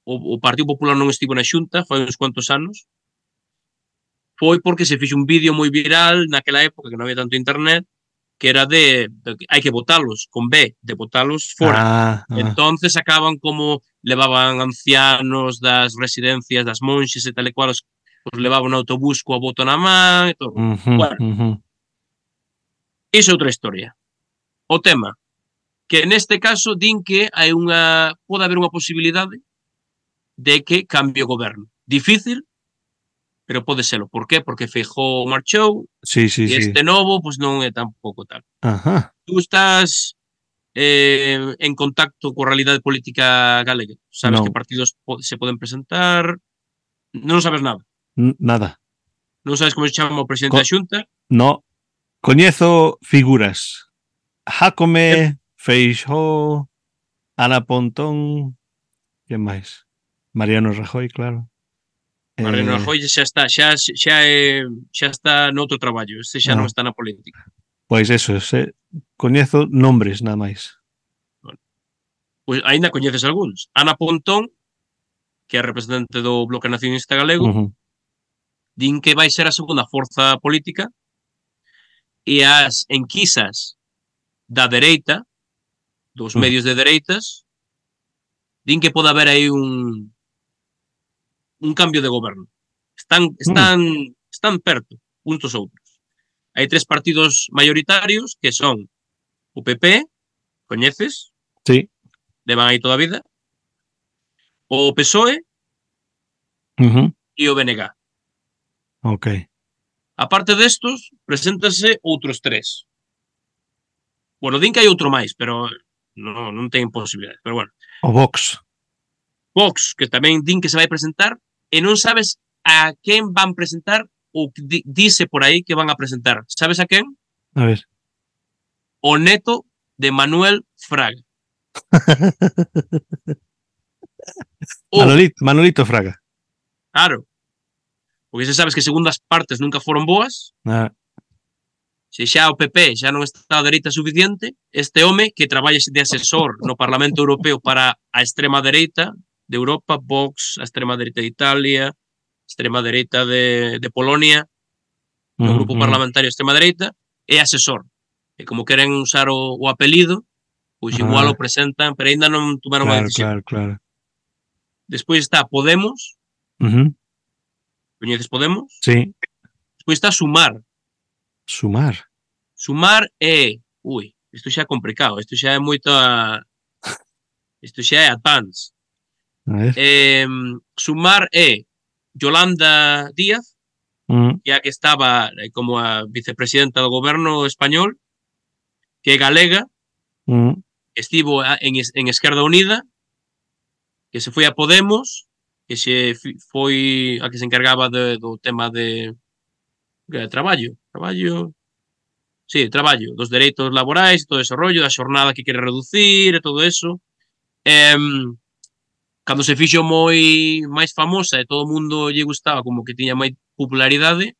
Speaker 2: o, o Partido Popular non estivo na xunta, foi uns cuantos anos, foi porque se fixo un vídeo moi viral naquela época que non había tanto internet, que era de, de que hai que votalos, con B, de votalos fora.
Speaker 1: Ah, ah,
Speaker 2: Entonces acaban como levaban ancianos das residencias das monxes e tal e cual, os, os levaban no autobús coa bota na man e todo.
Speaker 1: ujú,
Speaker 2: Bueno.
Speaker 1: ujú.
Speaker 2: Iso é outra historia. O tema que neste caso din que hai unha pode haber unha posibilidade de que cambie o goberno. Difícil, pero pode selo. Por qué? Porque Feijó marchou
Speaker 1: Sí, sí, sí.
Speaker 2: e este novo pois non é tampouco tal.
Speaker 1: Ajá.
Speaker 2: Tú estás eh, en contacto coa realidade política galega. Sabes
Speaker 1: Non.
Speaker 2: que partidos po- se poden presentar, non sabes nada.
Speaker 1: N- Nada.
Speaker 2: Non sabes como se chama o presidente
Speaker 1: Co-
Speaker 2: da Xunta,
Speaker 1: No. Coñezo figuras. Jacome, Feixó, Ana Pontón, que máis? Mariano Rajoy, claro. Eh,
Speaker 2: Mariano Rajoy xa está, xa xa é, xa está noutro traballo, este xa non
Speaker 1: Ah.
Speaker 2: está na política.
Speaker 1: Pois eso, se, coñezo nombres nada máis.
Speaker 2: Pois aínda coñeces algúns. Ana Pontón, que é representante do Bloque Nacionalista Galego,
Speaker 1: Ujú.
Speaker 2: din que vai ser a segunda forza política e as enquisas da dereita, dos
Speaker 1: Mm.
Speaker 2: medios de dereitas, din que pode haber aí un un cambio de
Speaker 1: Mm.
Speaker 2: goberno. Están están están perto uns dos outros. Hai tres partidos maioritarios que son o PP, coñeces?
Speaker 1: Sí.
Speaker 2: Levan aí toda a vida. O PSOE
Speaker 1: Ujú.
Speaker 2: e o BNG.
Speaker 1: Ok.
Speaker 2: Aparte destos, preséntase outros tres. Bueno, din que hai outro máis, pero non, non ten posibilidades. Pero bueno,
Speaker 1: O Vox.
Speaker 2: Vox, que tamén din que se vai presentar, e non sabes a quen van presentar ou que di- dice por aí que van a presentar. Sabes a quen?
Speaker 1: A ver.
Speaker 2: O neto de Manuel Fraga. O,
Speaker 1: Manolito, Manolito Fraga.
Speaker 2: claro, porque se sabes que segundas partes nunca foron boas,
Speaker 1: Ah,
Speaker 2: se xa o PP xa non está a dereita suficiente, este home que traballa de asesor no Parlamento Europeo para a extrema dereita de Europa, Vox, a extrema dereita de Italia, extrema dereita de, de Polonia, no
Speaker 1: ujú,
Speaker 2: grupo
Speaker 1: ujú.
Speaker 2: parlamentario extrema dereita, é asesor. E como queren usar o, o apelido, pois igual
Speaker 1: Ah.
Speaker 2: o presentan, pero aínda non tomaron a
Speaker 1: Claro,
Speaker 2: decisión.
Speaker 1: claro, claro.
Speaker 2: Despois está Podemos,
Speaker 1: Ujú.
Speaker 2: coñeces Podemos?
Speaker 1: Sí.
Speaker 2: Despois está Sumar,
Speaker 1: Sumar.
Speaker 2: Sumar é, ui, isto xa é complicado, isto xa é moita isto xa é advance.
Speaker 1: A ver.
Speaker 2: Eh, sumar é Yolanda Díaz,
Speaker 1: Mm,
Speaker 2: ya que estaba eh, como a vicepresidenta do goberno español, que é galega,
Speaker 1: mm.
Speaker 2: estivo a- en, Es- en Esquerda Unida, que se foi a Podemos, que se fi- foi a que se encargaba de, do tema de, de traballo, traballo, sí, traballo, dos dereitos laborais, todo ese rollo, da xornada que quere reducir e todo eso. Em, cando se fixo moi máis famosa e todo o mundo lle gustaba, como que tiña máis popularidade,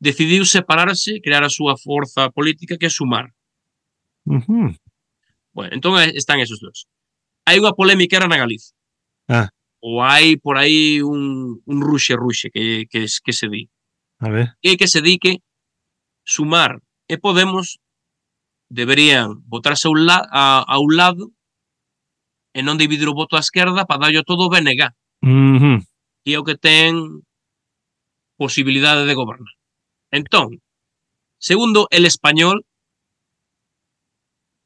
Speaker 2: decidiu separarse, crear a súa forza política que é Sumar.
Speaker 1: Ujú.
Speaker 2: Bueno, entón eh, están esos dos. Hai unha polémica era na Galicia.
Speaker 1: Ah.
Speaker 2: Ou hai por aí un, un ruxe ruxe que, que, es- que se di.
Speaker 1: A ver.
Speaker 2: E que se di que Sumar e Podemos deberían votarse a un, la, a, a un lado e non dividir o voto á esquerda para darlle todo o BNG,
Speaker 1: Ujú.
Speaker 2: que é o que ten posibilidade de gobernar. Entón, segundo el español,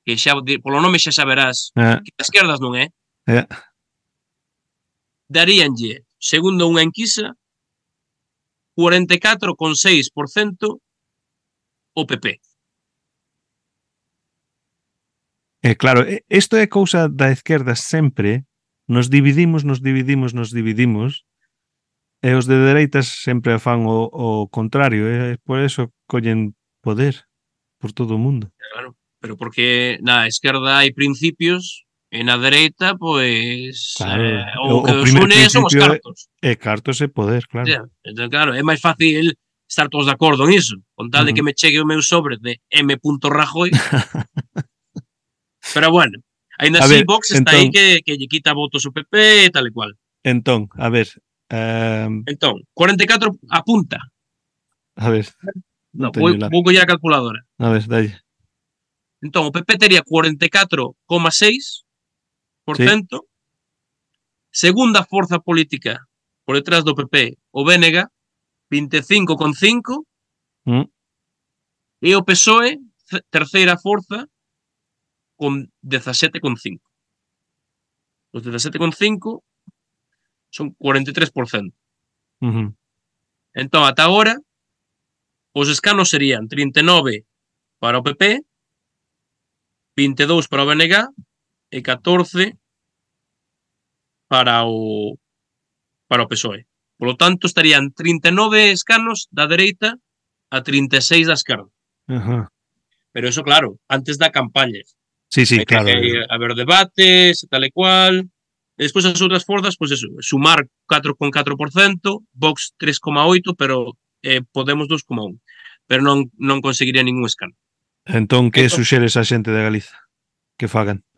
Speaker 2: que xa, di- polo nome xa saberás
Speaker 1: Ah,
Speaker 2: que as esquerdas non é,
Speaker 1: É.
Speaker 2: daríanlle, segundo unha enquisa, 44,6% o PP.
Speaker 1: eh, claro, eh, isto é cousa da esquerda sempre. Nos dividimos, nos dividimos, nos dividimos E os de dereitas sempre fan o, o contrario, e por eso collen poder por todo o mundo.
Speaker 2: claro. Pero porque na esquerda hai principios e na dereita, pois,
Speaker 1: Claro.
Speaker 2: eh,
Speaker 1: O-
Speaker 2: o, que
Speaker 1: o
Speaker 2: os
Speaker 1: primer
Speaker 2: une son os
Speaker 1: principio é-
Speaker 2: cartos.
Speaker 1: E cartos e poder, claro.
Speaker 2: Yeah. Entón, claro, é máis fácil estar todos de acordo en iso, con tal de
Speaker 1: Ujú.
Speaker 2: que me chegue o meu sobre de M. Rajoy. Pero bueno, ainda
Speaker 1: A ver,
Speaker 2: así Vox está aí
Speaker 1: entón-
Speaker 2: que, que lle quita votos o PP e tal e cual.
Speaker 1: Entón, a ver, ehm,
Speaker 2: Entón, 44 apunta.
Speaker 1: a ver,
Speaker 2: No,
Speaker 1: teño
Speaker 2: vou,
Speaker 1: lápiz.
Speaker 2: vou coller a calculadora.
Speaker 1: a ver, dalle.
Speaker 2: Entón, o PP tería 44,6%. Segunda forza política por detrás do PP, o BNG, 25,5%.
Speaker 1: Mm.
Speaker 2: E o PSOE, ce- terceira forza, con 17,5%. Os 17,5% son 43%.
Speaker 1: Ujú.
Speaker 2: Entón, ata agora, os escanos serían 39 para o PP, 22 para o BNG e 14 para o para o PSOE. Por lo tanto, estarían 39 escanos da dereita a 36 da esquerda.
Speaker 1: Ajá.
Speaker 2: Pero eso, claro, antes da campaña.
Speaker 1: Sí, sí,
Speaker 2: Hai que
Speaker 1: claro.
Speaker 2: hai- haber debates, e tal e cual. E despois as outras forzas, pois eso, sumar 4,4%, Vox 3,8%, pero eh, Podemos 2,1%. Pero non, non conseguiría ningún escano.
Speaker 1: Entón, que
Speaker 2: Entón-
Speaker 1: suxeres a xente de Galiza? Que fagan.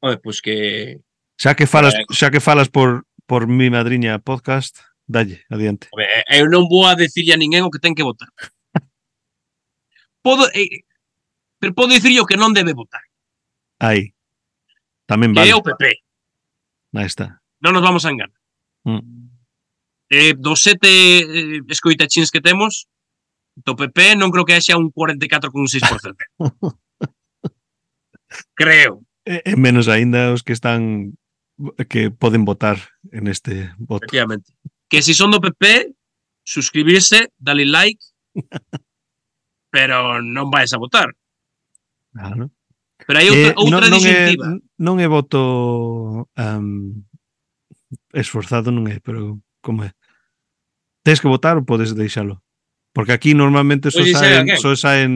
Speaker 2: Oye, pois que,
Speaker 1: Xa que falas,
Speaker 2: Eh.
Speaker 1: xa que falas por por mi madriña podcast, dalle adiante.
Speaker 2: a ver, eh, eu non vou a decirle a ninguén o que ten que votar. Podo, eh, pero podo dicirlle o que non debe votar,
Speaker 1: Aí. Tamén
Speaker 2: que
Speaker 1: vale.
Speaker 2: é o PP.
Speaker 1: Aí está.
Speaker 2: Non nos vamos a enganar.
Speaker 1: Mm.
Speaker 2: Eh, dos sete eh, escoitachins que temos, do PP non creo que haxa un 44,6%. creo.
Speaker 1: E, e menos aínda os que están que poden votar en este voto.
Speaker 2: Efectivamente. Que si son do PP, suscribirse, dale like, pero non vais a votar.
Speaker 1: Claro.
Speaker 2: Pero hai
Speaker 1: Eh,
Speaker 2: outra, outra
Speaker 1: non, non é
Speaker 2: disyuntiva.
Speaker 1: non é voto am, esforzado non é, pero como é? Tes que votar ou podes deixalo? Porque aquí normalmente só
Speaker 2: Podes deixar
Speaker 1: saen,
Speaker 2: a quen?
Speaker 1: só saen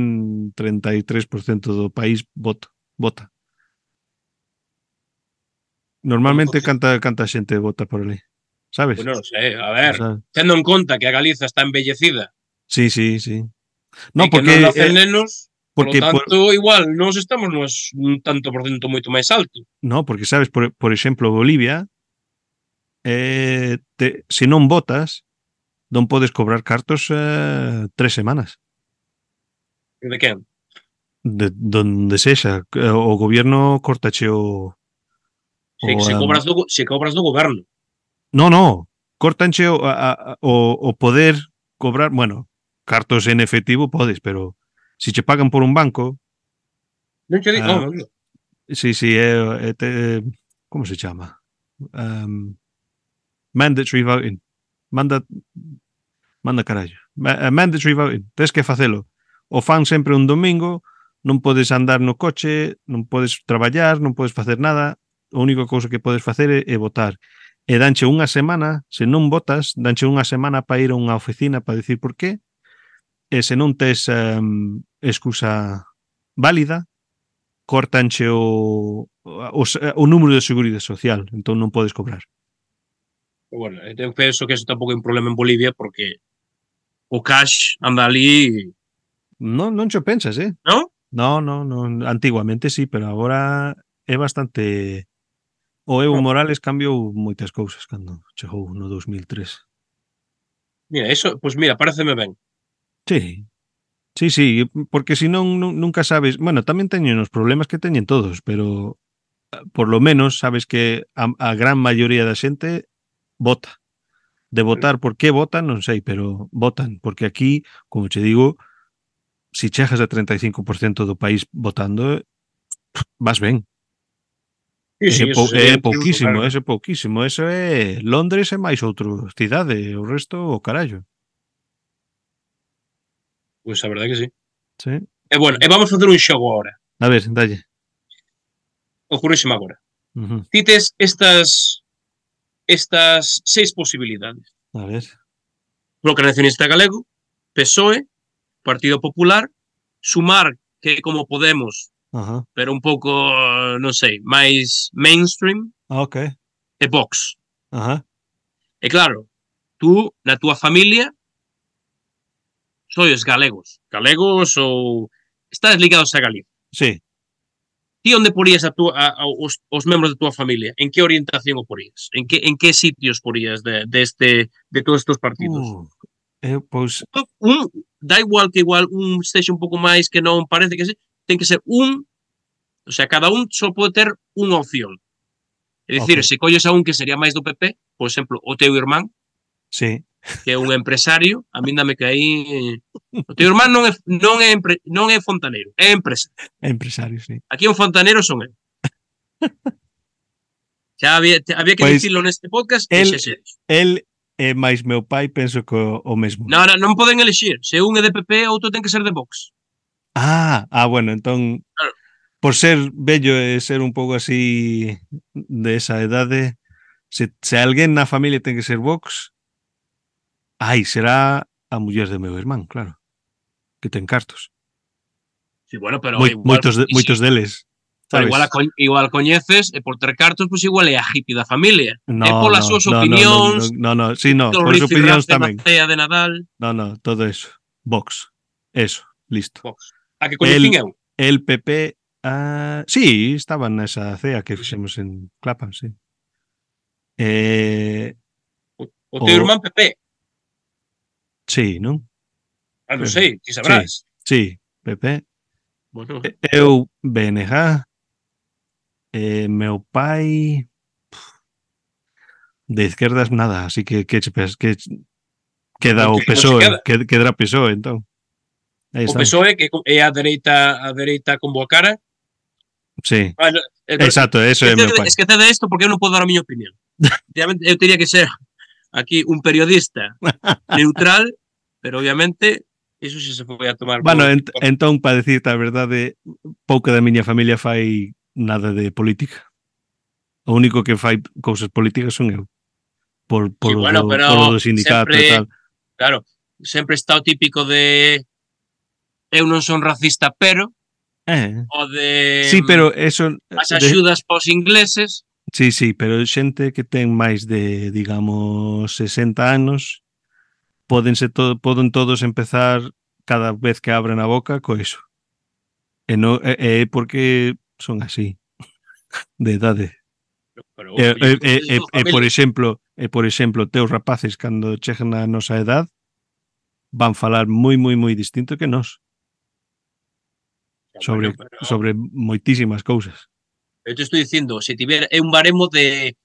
Speaker 1: 33% do país voto, vota. Normalmente
Speaker 2: Pois,
Speaker 1: canta canta xente vota por ali, sabes?
Speaker 2: Pois non sei, a
Speaker 1: O
Speaker 2: ver,
Speaker 1: sea,
Speaker 2: tendo en conta que a Galiza está embellecida
Speaker 1: sí, sí, sí. No,
Speaker 2: e que non
Speaker 1: porque
Speaker 2: nacen
Speaker 1: eh,
Speaker 2: nenos,
Speaker 1: porque
Speaker 2: por
Speaker 1: por,
Speaker 2: lo tanto, igual, nós estamos nos un tanto por cento moito máis alto.
Speaker 1: No, porque sabes, por, por exemplo, Bolivia, eh, te, se non votas, non podes cobrar cartos eh, tres semanas,
Speaker 2: De quen?
Speaker 1: de, donde sexa. Eh, O goberno cortache o...
Speaker 2: Se,
Speaker 1: o,
Speaker 2: se,
Speaker 1: em,
Speaker 2: cobras do, go- se cobras do goberno.
Speaker 1: No, no, cortanche o, a, a- o, o poder cobrar, bueno, cartos en efectivo podes, pero se che pagan por un banco,
Speaker 2: Non che digo,
Speaker 1: Ah.
Speaker 2: no, eh, no,
Speaker 1: sí, sí, é, é te, como se chama? Um, mandatory voting. Manda manda carallo. Ma- eh, Mandatory voting. Tes que facelo. O fan sempre un domingo, non podes andar no coche, non podes traballar, non podes facer nada. A única cousa que podes facer é, é votar. E danche unha semana, se non votas, danche unha semana para ir a unha oficina para dicir por qué. E se non tes um, excusa válida, cortanche o, o, o número de seguridade social, entón non podes cobrar.
Speaker 2: Pero bueno, eh, eu penso que eso tampouco é un problema en Bolivia porque o cash anda ali,
Speaker 1: Non, non cho pensas, eh?
Speaker 2: ¿no?
Speaker 1: No, no, no, antiguamente sí, pero agora é bastante o Evo
Speaker 2: No.
Speaker 1: Morales cambiou moitas cousas cando chegou no 2003.
Speaker 2: Mira, eso, pois pues mira, pareceme ben.
Speaker 1: Sí. Sí, sí, porque si non nun- nunca sabes, bueno, tamén teñen os problemas que teñen todos, pero eh, por lo menos sabes que a, a gran maioría da xente vota. De votar, por que votan, non sei, pero votan, porque aquí, como che digo, si chegas a 35% do país votando, vas ben.
Speaker 2: Sí,
Speaker 1: é, pou,
Speaker 2: sería
Speaker 1: é
Speaker 2: un triunfo,
Speaker 1: pouquísimo,
Speaker 2: claro.
Speaker 1: ese é pouquísimo, eso é Londres e máis outro cidade, o resto o carallo.
Speaker 2: Pois a verdade que sí.
Speaker 1: Sí.
Speaker 2: E bueno, e vamos facer un xogo agora.
Speaker 1: A ver, dalle.
Speaker 2: Ocurríseme agora.
Speaker 1: Uh -huh.
Speaker 2: Ti tes estas estas seis posibilidades.
Speaker 1: A ver.
Speaker 2: Bloque Nacionalista Galego, PSOE, Partido Popular, Sumar, que é como Podemos,
Speaker 1: Ajá.
Speaker 2: pero un pouco, eh, non sei, máis mainstream,
Speaker 1: Ah, ok.
Speaker 2: e Vox.
Speaker 1: Ajá.
Speaker 2: E claro, tú, na túa familia, sois galegos. Galegos ou... Estás ligados a Galicia.
Speaker 1: Sí.
Speaker 2: Ti onde porías a túa, a, a, os, os membros da túa familia? En que orientación o porías? En que, en que sitios porías de, de, este, de todos estos partidos?
Speaker 1: Uh, eh, pois,
Speaker 2: Un, da igual que igual un sexa un pouco máis que non parece que se, ten que ser un, o sea, cada un só pode ter unha opción. É dicir,
Speaker 1: Ok.
Speaker 2: se colles a un que sería máis do PP, por exemplo, o teu irmán,
Speaker 1: sí.
Speaker 2: que é un empresario, a min dame que aí eh, o teu irmán non é non é empre, non é fontaneiro, é empresa.
Speaker 1: Empresario, sí.
Speaker 2: Aquí un fontaneiro son eu. Xa había, te- había que
Speaker 1: Pois,
Speaker 2: pues, dicilo neste podcast el,
Speaker 1: el-
Speaker 2: e xa xa.
Speaker 1: El e máis eh, meu pai penso que o, o mesmo.
Speaker 2: No, no, non poden elixir. Se un é de PP, outro ten que ser de Vox.
Speaker 1: Ah, ah, bueno, entón
Speaker 2: Claro.
Speaker 1: por ser bello e ser un pouco así de esa edade, se, se alguén na familia ten que ser Vox, ai, será a muller de meu irmán, claro, que ten cartos.
Speaker 2: Sí, bueno, pero
Speaker 1: Moi,
Speaker 2: igual,
Speaker 1: moitos, de,
Speaker 2: sí,
Speaker 1: moitos deles. sabes?
Speaker 2: pero igual, a, coñ- igual coñeces e por ter cartos, pois igual é a hippie da familia.
Speaker 1: no,
Speaker 2: é polas súas opinións,
Speaker 1: No, no, no, no, sí, no,
Speaker 2: Do
Speaker 1: polas
Speaker 2: Riff
Speaker 1: opinións
Speaker 2: Raff de
Speaker 1: tamén.
Speaker 2: Batea de Nadal,
Speaker 1: No, no, todo eso. Vox. Eso, listo.
Speaker 2: a que coñecín eu.
Speaker 1: El PP, ah, sí, estaban nesa cea que fixemos en Clapham, sí. Eh,
Speaker 2: O teu
Speaker 1: o-
Speaker 2: irmán PP,
Speaker 1: sí, non?
Speaker 2: ah, non sei, ti sabrás.
Speaker 1: Sí, PP.
Speaker 2: Bueno,
Speaker 1: E- Eu, BNG. Eh, meu pai... pf, De izquierdas nada, así que que, che pes- que che- queda o
Speaker 2: Porque non se
Speaker 1: PSOE,
Speaker 2: queda.
Speaker 1: que, quedará PSOE, entón. Aí
Speaker 2: o
Speaker 1: está.
Speaker 2: PSOE que é a dereita a dereita con boa cara.
Speaker 1: Sí,
Speaker 2: Ah, no, eh,
Speaker 1: exacto, eso é
Speaker 2: esquecede-
Speaker 1: meu pai.
Speaker 2: esquecede isto porque eu non podo dar a miña opinión. Obviamente, eu teria que ser aquí un periodista neutral, pero obviamente iso xa se foi a tomar. por-
Speaker 1: Bueno, ent entón, para dicirte a verdade, pouca da miña familia fai nada de política. O único que fai cousas políticas son eu. Por, por,
Speaker 2: Sí,
Speaker 1: o,
Speaker 2: bueno,
Speaker 1: do,
Speaker 2: pero
Speaker 1: por o do sindicato e
Speaker 2: sempre-
Speaker 1: tal.
Speaker 2: claro, sempre está o típico de eu non son racista, pero
Speaker 1: Eh.
Speaker 2: o de mm,
Speaker 1: sí, pero eso...
Speaker 2: as
Speaker 1: de-
Speaker 2: axudas pos ingleses,
Speaker 1: Sí, sí, pero xente que ten máis de, digamos, 60 anos podense to poden todos empezar cada vez que abren a boca co iso. E no, e, e é porque son así de edade.
Speaker 2: pero
Speaker 1: E, e,
Speaker 2: oye,
Speaker 1: e,
Speaker 2: es
Speaker 1: e,
Speaker 2: tu
Speaker 1: e
Speaker 2: familia.
Speaker 1: eh, por exemplo, e por exemplo, teus rapaces cando chegan a nosa edad van falar moi moi moi distinto que nós sobre
Speaker 2: Bueno, pero-
Speaker 1: sobre moitísimas cousas.
Speaker 2: Eu te estou dicindo, se tiver é un baremo de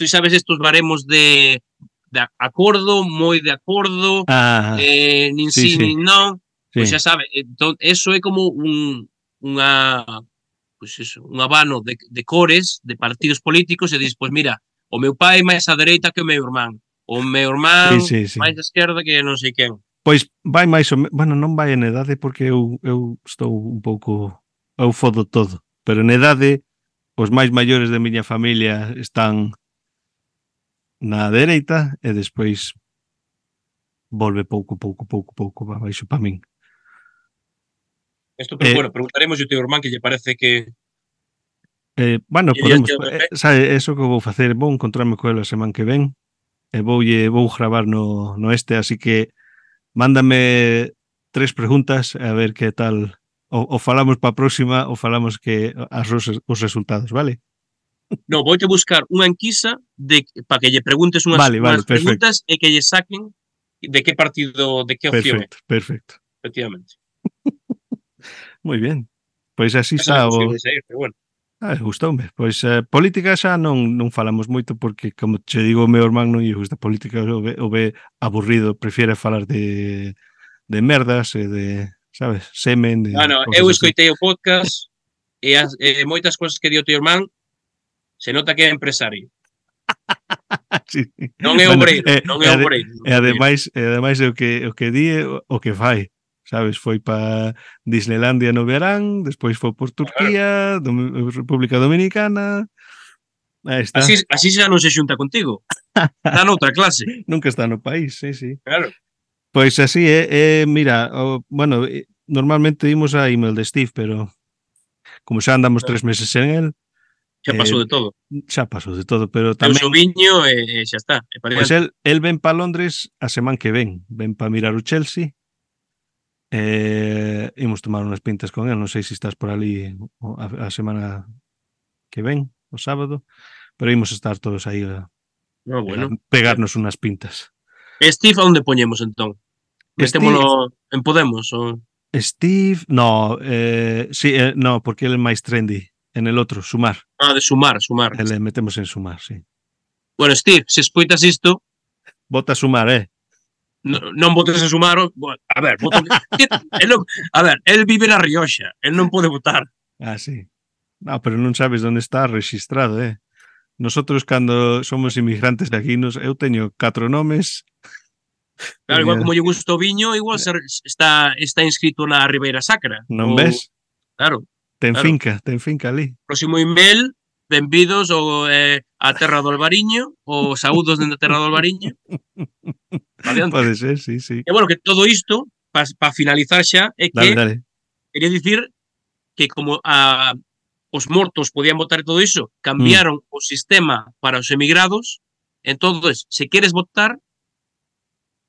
Speaker 2: tú sabes estos baremos de de acordo, moi de acordo,
Speaker 1: Ah,
Speaker 2: eh, nin
Speaker 1: sí,
Speaker 2: sí,
Speaker 1: sí.
Speaker 2: nin non,
Speaker 1: sí.
Speaker 2: pois xa sabe, entón eso é como un unha pois iso, un abano de, de cores, de partidos políticos e dis, pois mira, o meu pai é máis á dereita que o meu irmán, o meu irmán
Speaker 1: sí, sí, sí.
Speaker 2: máis á esquerda que non sei quen.
Speaker 1: Pois vai máis ou me... bueno, non vai en edade porque eu eu estou un pouco eu fodo todo, pero en edade os máis maiores da miña familia están na dereita e despois volve pouco pouco pouco pouco para baixo para min.
Speaker 2: Isto, pero
Speaker 1: Eh,
Speaker 2: bueno, preguntaremos ao teu irmán que lle parece que
Speaker 1: Eh, bueno,
Speaker 2: Iría
Speaker 1: podemos,
Speaker 2: yo
Speaker 1: eh,
Speaker 2: de
Speaker 1: sabe, eso que vou facer, vou encontrarme co el a semana que ven e voulle vou gravar no, no este, así que mándame tres preguntas a ver que tal o, o falamos para a próxima ou falamos que as os, os resultados, vale?
Speaker 2: No, voite buscar unha enquisa de para que lle preguntes unhas,
Speaker 1: Vale, vale,
Speaker 2: unhas
Speaker 1: perfecto.
Speaker 2: preguntas e que lle saquen de que partido, de que opción é,
Speaker 1: Perfecto, perfecto.
Speaker 2: efectivamente.
Speaker 1: Moi ben. Pois así
Speaker 2: Esa
Speaker 1: está
Speaker 2: non
Speaker 1: o
Speaker 2: consigo sair, pero bueno.
Speaker 1: Ah, gustoume. Pois eh, política xa non non falamos moito porque como che digo, o meu irmán non lle gusta política, o ve, o ve aburrido, prefiere falar de de merdas e de, sabes, semen de
Speaker 2: Ah, no,
Speaker 1: cousas
Speaker 2: eu
Speaker 1: así.
Speaker 2: escoitei o podcast e, as, e moitas cousas que di o teu irmán se nota que é empresario.
Speaker 1: Sí.
Speaker 2: Non é
Speaker 1: Bueno,
Speaker 2: obreiro,
Speaker 1: eh,
Speaker 2: non
Speaker 1: e
Speaker 2: é
Speaker 1: ade-
Speaker 2: obreiro.
Speaker 1: E ademais, e ademais o que o que di é o, o que fai. Sabes, foi para Disneylandia no verán, despois foi por Turquía, Dom- República Dominicana. Aí está.
Speaker 2: Así, así xa non se xunta contigo. Dan outra clase.
Speaker 1: Nunca está no país, sí, sí.
Speaker 2: Claro.
Speaker 1: Pois Pues así, é, é mira, o, bueno, eh, normalmente imos a email de Steve, pero como xa andamos tres meses en el,
Speaker 2: Xa pasou de todo.
Speaker 1: xa pasou de todo, pero Eh,
Speaker 2: Tamén...
Speaker 1: tamén...
Speaker 2: Teu viño e, e xa está. E para
Speaker 1: Pois
Speaker 2: pues
Speaker 1: el, el ven para Londres a semana que ven, ven para mirar o Chelsea. Eh, imos tomar unhas pintas con el, non sei se estás por ali o- a, a semana que ven, o sábado, pero imos estar todos aí a
Speaker 2: no, Ah, bueno.
Speaker 1: pegar- pegarnos unhas pintas.
Speaker 2: E Steve, a onde poñemos entón? Metémolo en Podemos? O...
Speaker 1: Steve, no, eh, sí, eh, no, porque el é máis trendy, en el outro, sumar,
Speaker 2: Ah, de sumar, sumar.
Speaker 1: el eh, metemos en sumar, sí.
Speaker 2: Bueno, Steve, se escoitas isto,
Speaker 1: Bota sumar, eh.
Speaker 2: no- non votes a sumar, o- bo- a ver, voto... el non... a ver, el vive na Rioxa, el non pode votar.
Speaker 1: Ah, sí. No, pero non sabes onde está registrado, eh. Nosotros cando somos inmigrantes de aquí, nos, eu teño catro nomes.
Speaker 2: Claro, igual
Speaker 1: Teño-
Speaker 2: como lle gusta o viño, igual se, está está inscrito na Ribeira Sacra.
Speaker 1: Non
Speaker 2: Ou-
Speaker 1: ves?
Speaker 2: Claro,
Speaker 1: Ten
Speaker 2: Oh, claro.
Speaker 1: finca, ten finca ali.
Speaker 2: próximo email, benvidos ao eh, a Terra do Albariño, ou saúdos dende a Terra do Albariño. Adiante.
Speaker 1: Pode ser, eh, sí, sí.
Speaker 2: E bueno, que todo isto, para pa finalizar xa, é que
Speaker 1: Dale, dale.
Speaker 2: quería dicir que como a, os mortos podían votar e todo iso, cambiaron mm. o sistema para os emigrados, entonces, se queres votar,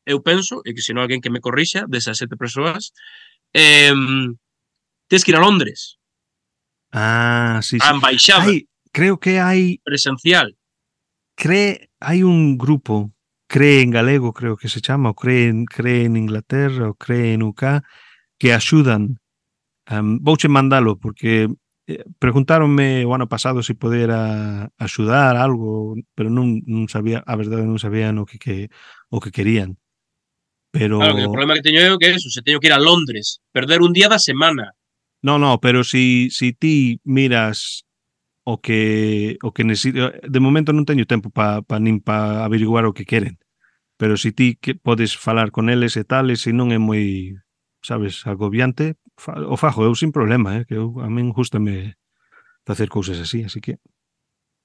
Speaker 2: eu penso, e que se non alguén que me corrixa, desas sete persoas, eh, tens que ir a Londres,
Speaker 1: Ah, sí, sí.
Speaker 2: a embaixada
Speaker 1: Ai, creo que hai
Speaker 2: presencial.
Speaker 1: cree hai un grupo cree en galego creo que se chama o cree en, cree en Inglaterra o cree en UK que axudan um, vouche mandalo porque eh, preguntáronme o ano pasado se podera axudar algo pero non, non sabía a verdade non sabían o que, que o que querían pero
Speaker 2: Claro, que o problema que teño eu é que é eso, se teño que ir a Londres, perder un día da semana.
Speaker 1: No, no, pero si si ti miras o que o que necesito, de momento non teño tempo para pa, nin para averiguar o que queren. Pero si ti que podes falar con eles e tal, e se non é moi, sabes, agobiante, fa, o fajo eu sin problema, eh, que eu a min gustame facer cousas así, así que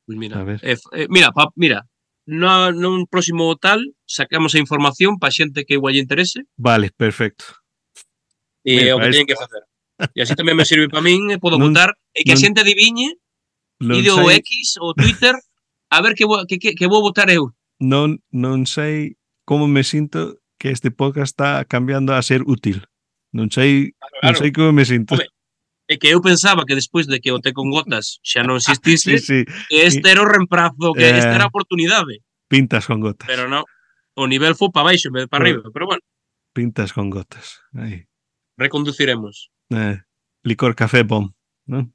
Speaker 2: Pois mira,
Speaker 1: A ver.
Speaker 2: eh, f- eh, mira, pa, mira, no, nun próximo tal sacamos a información para xente que igual lle interese
Speaker 1: vale, perfecto. Mira,
Speaker 2: e é o que
Speaker 1: parece-
Speaker 2: teñen que facer. E así tamén me sirve para min, e podo
Speaker 1: Non-
Speaker 2: votar e que
Speaker 1: non-
Speaker 2: a xente adiviñe,
Speaker 1: Non
Speaker 2: ide ao
Speaker 1: sei,
Speaker 2: X ou Twitter, a ver que vou, que, que, que vou votar eu.
Speaker 1: non non sei como me sinto que este podcast está cambiando a ser útil. Non sei, non sei como me sinto.
Speaker 2: Home, É que eu pensaba que despois de que o Té con Gotas xa non existise,
Speaker 1: Sí, Ah, sí,
Speaker 2: que este era o reemplazo, que
Speaker 1: Eh.
Speaker 2: esta era a oportunidade,
Speaker 1: pintas con gotas.
Speaker 2: pero non. O nivel foi para baixo, en vez de para arriba, pero bueno,
Speaker 1: Pintas con gotas. Aí.
Speaker 2: reconduciremos,
Speaker 1: Eh, licor café bom. Non?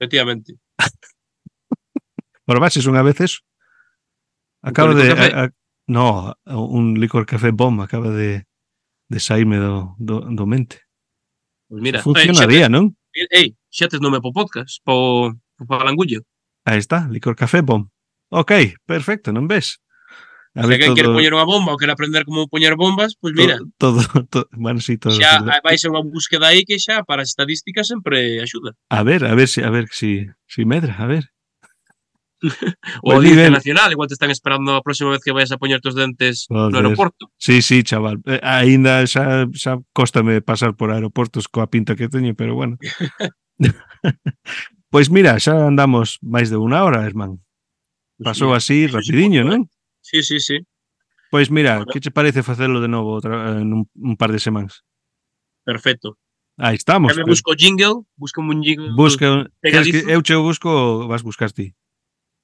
Speaker 2: efectivamente.
Speaker 1: Probaches unha vez eso? Acabo
Speaker 2: licor
Speaker 1: de...
Speaker 2: café?
Speaker 1: A, a, no, un licor café bom acaba de, de saírme do, do, do mente.
Speaker 2: Pois mira,
Speaker 1: Funcionaría, non?
Speaker 2: Ei, Ei, xa tes nome po podcast, po, po falangullo.
Speaker 1: Aí está, licor café bom. Ok, perfecto, non ves? A
Speaker 2: Se
Speaker 1: ver
Speaker 2: alguén quere
Speaker 1: todo,
Speaker 2: poñer unha bomba ou quere aprender como poñer bombas, pois mira,
Speaker 1: to- todo, todo, bueno, sí, todo.
Speaker 2: xa vai ser unha búsqueda aí que xa para as estadísticas sempre axuda.
Speaker 1: A ver, a ver si, a ver si, si medra, a ver.
Speaker 2: O
Speaker 1: Pois
Speaker 2: Audiencia
Speaker 1: dime-
Speaker 2: Nacional, igual te están esperando a próxima vez que vayas a poñer tus dentes no
Speaker 1: Joder.
Speaker 2: aeroporto.
Speaker 1: Sí, sí, chaval. Eh, aínda xa, xa cóstame pasar por aeroportos coa pinta que teño, pero bueno. pois mira, xa andamos máis de unha hora, Herman.
Speaker 2: Pois
Speaker 1: Pasou
Speaker 2: mira,
Speaker 1: así
Speaker 2: sí,
Speaker 1: rapidiño,
Speaker 2: sí,
Speaker 1: non?
Speaker 2: Sí, sí, sí.
Speaker 1: Pois mira,
Speaker 2: Bueno.
Speaker 1: que che parece facelo de novo outra, en un, un par de semanas?
Speaker 2: Perfecto.
Speaker 1: Aí estamos.
Speaker 2: Xa me busco jingle, busco un jingle.
Speaker 1: Busca, queres que
Speaker 2: pegadizo.
Speaker 1: eu che o busco ou vas buscar ti?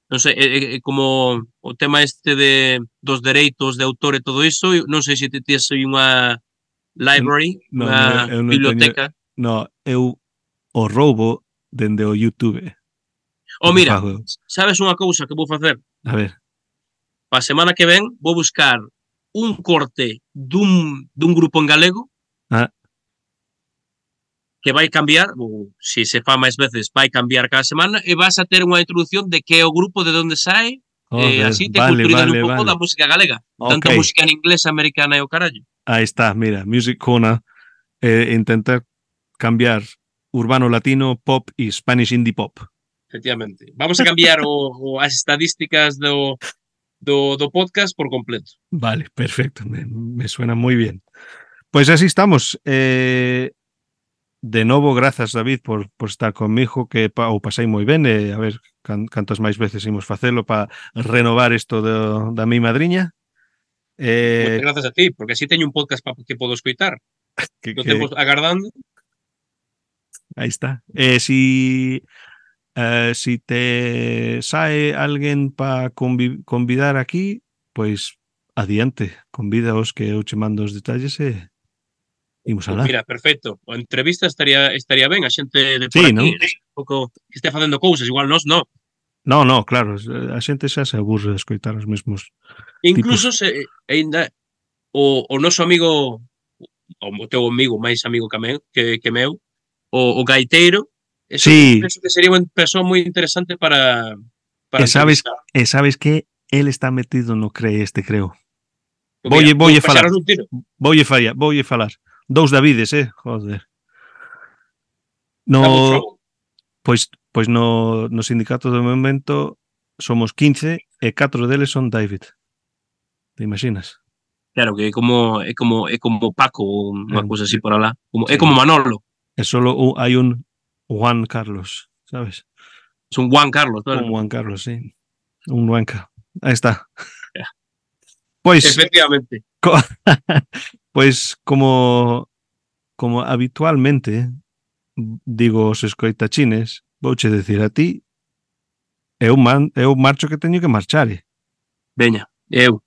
Speaker 2: Non sei, é, é, é eh, como o tema este de dos dereitos de autor e todo iso, eu non sei se ti tes aí unha library,
Speaker 1: Non,
Speaker 2: unha
Speaker 1: eu non teño-
Speaker 2: biblioteca.
Speaker 1: No, eu o roubo dende o YouTube.
Speaker 2: Ou Oh, mira,
Speaker 1: Fago eu.
Speaker 2: sabes unha cousa que vou facer?
Speaker 1: A ver,
Speaker 2: pa semana que ven vou buscar un corte dun, dun grupo en galego
Speaker 1: Ah.
Speaker 2: que vai cambiar, ou se se fa máis veces, vai cambiar cada semana e vas a ter unha introducción de que é o grupo de onde sai, e
Speaker 1: joder,
Speaker 2: Eh, así te
Speaker 1: Oh, vale,
Speaker 2: culturizan
Speaker 1: vale,
Speaker 2: un pouco
Speaker 1: vale.
Speaker 2: da música galega, tanto
Speaker 1: Ok.
Speaker 2: música en inglés, americana e o carallo.
Speaker 1: Ahí está, mira, Music Corner, eh, intentar cambiar urbano latino, pop y Spanish indie pop.
Speaker 2: Efectivamente. Vamos a cambiar o, o as estadísticas do do, do podcast por completo.
Speaker 1: Vale, perfecto, me, me suena muy bien. Pues así estamos. Eh, de novo, grazas, David, por, por estar conmigo, que pa, o pasei moi ben, e eh, a ver can, cantas máis veces imos facelo para renovar isto do, da mi madriña.
Speaker 2: Moitas
Speaker 1: Eh,
Speaker 2: grazas a ti, porque así teño un podcast pa, que podo escoitar.
Speaker 1: que,
Speaker 2: Que... Lo
Speaker 1: que,
Speaker 2: temos agardando.
Speaker 1: aí está. Eh, si, eh, si te sae alguén para convi, convidar aquí, pois adiante, convídaos que eu che mando os detalles e imos alá.
Speaker 2: Pues Mira, perfecto. A entrevista estaría estaría ben, a xente de por
Speaker 1: Sí,
Speaker 2: aquí, ¿eh?
Speaker 1: non?
Speaker 2: un pouco que este facendo cousas, igual nós non.
Speaker 1: No, no, claro, a xente xa se aburre de escoitar os mesmos.
Speaker 2: Incluso se eh, aínda o, o noso amigo o o teu amigo, máis amigo que meu, que, que meu o, o gaiteiro, eso
Speaker 1: Sí.
Speaker 2: penso que sería unha persoa moi interesante para para
Speaker 1: Que sabes-
Speaker 2: entrevistar.
Speaker 1: E sabes que el está metido no cree este, creo.
Speaker 2: Mira,
Speaker 1: voy-
Speaker 2: vou
Speaker 1: voy a
Speaker 2: pasar
Speaker 1: falar.
Speaker 2: un tiro.
Speaker 1: Voulle fallar, voulle falar. Dous Davides, eh, joder.
Speaker 2: Damos
Speaker 1: No,
Speaker 2: fogo.
Speaker 1: pois pois no no sindicato do momento somos 15 e 4 deles son David. Te imaginas?
Speaker 2: Claro que é como é como é como Paco ou unha
Speaker 1: Mm.
Speaker 2: cousa así por alá, como é
Speaker 1: Sí.
Speaker 2: como Manolo,
Speaker 1: E solo u- hai un Juan Carlos, sabes?
Speaker 2: son Juan Carlos, claro.
Speaker 1: Un Juan Carlos, sí. Un Juanca. Aí está. Pois
Speaker 2: Efectivamente.
Speaker 1: Pois como como habitualmente digo os escoitachines, vouche decir a ti eu man, eu marcho que teño que marchar. eh.
Speaker 2: Veña, eu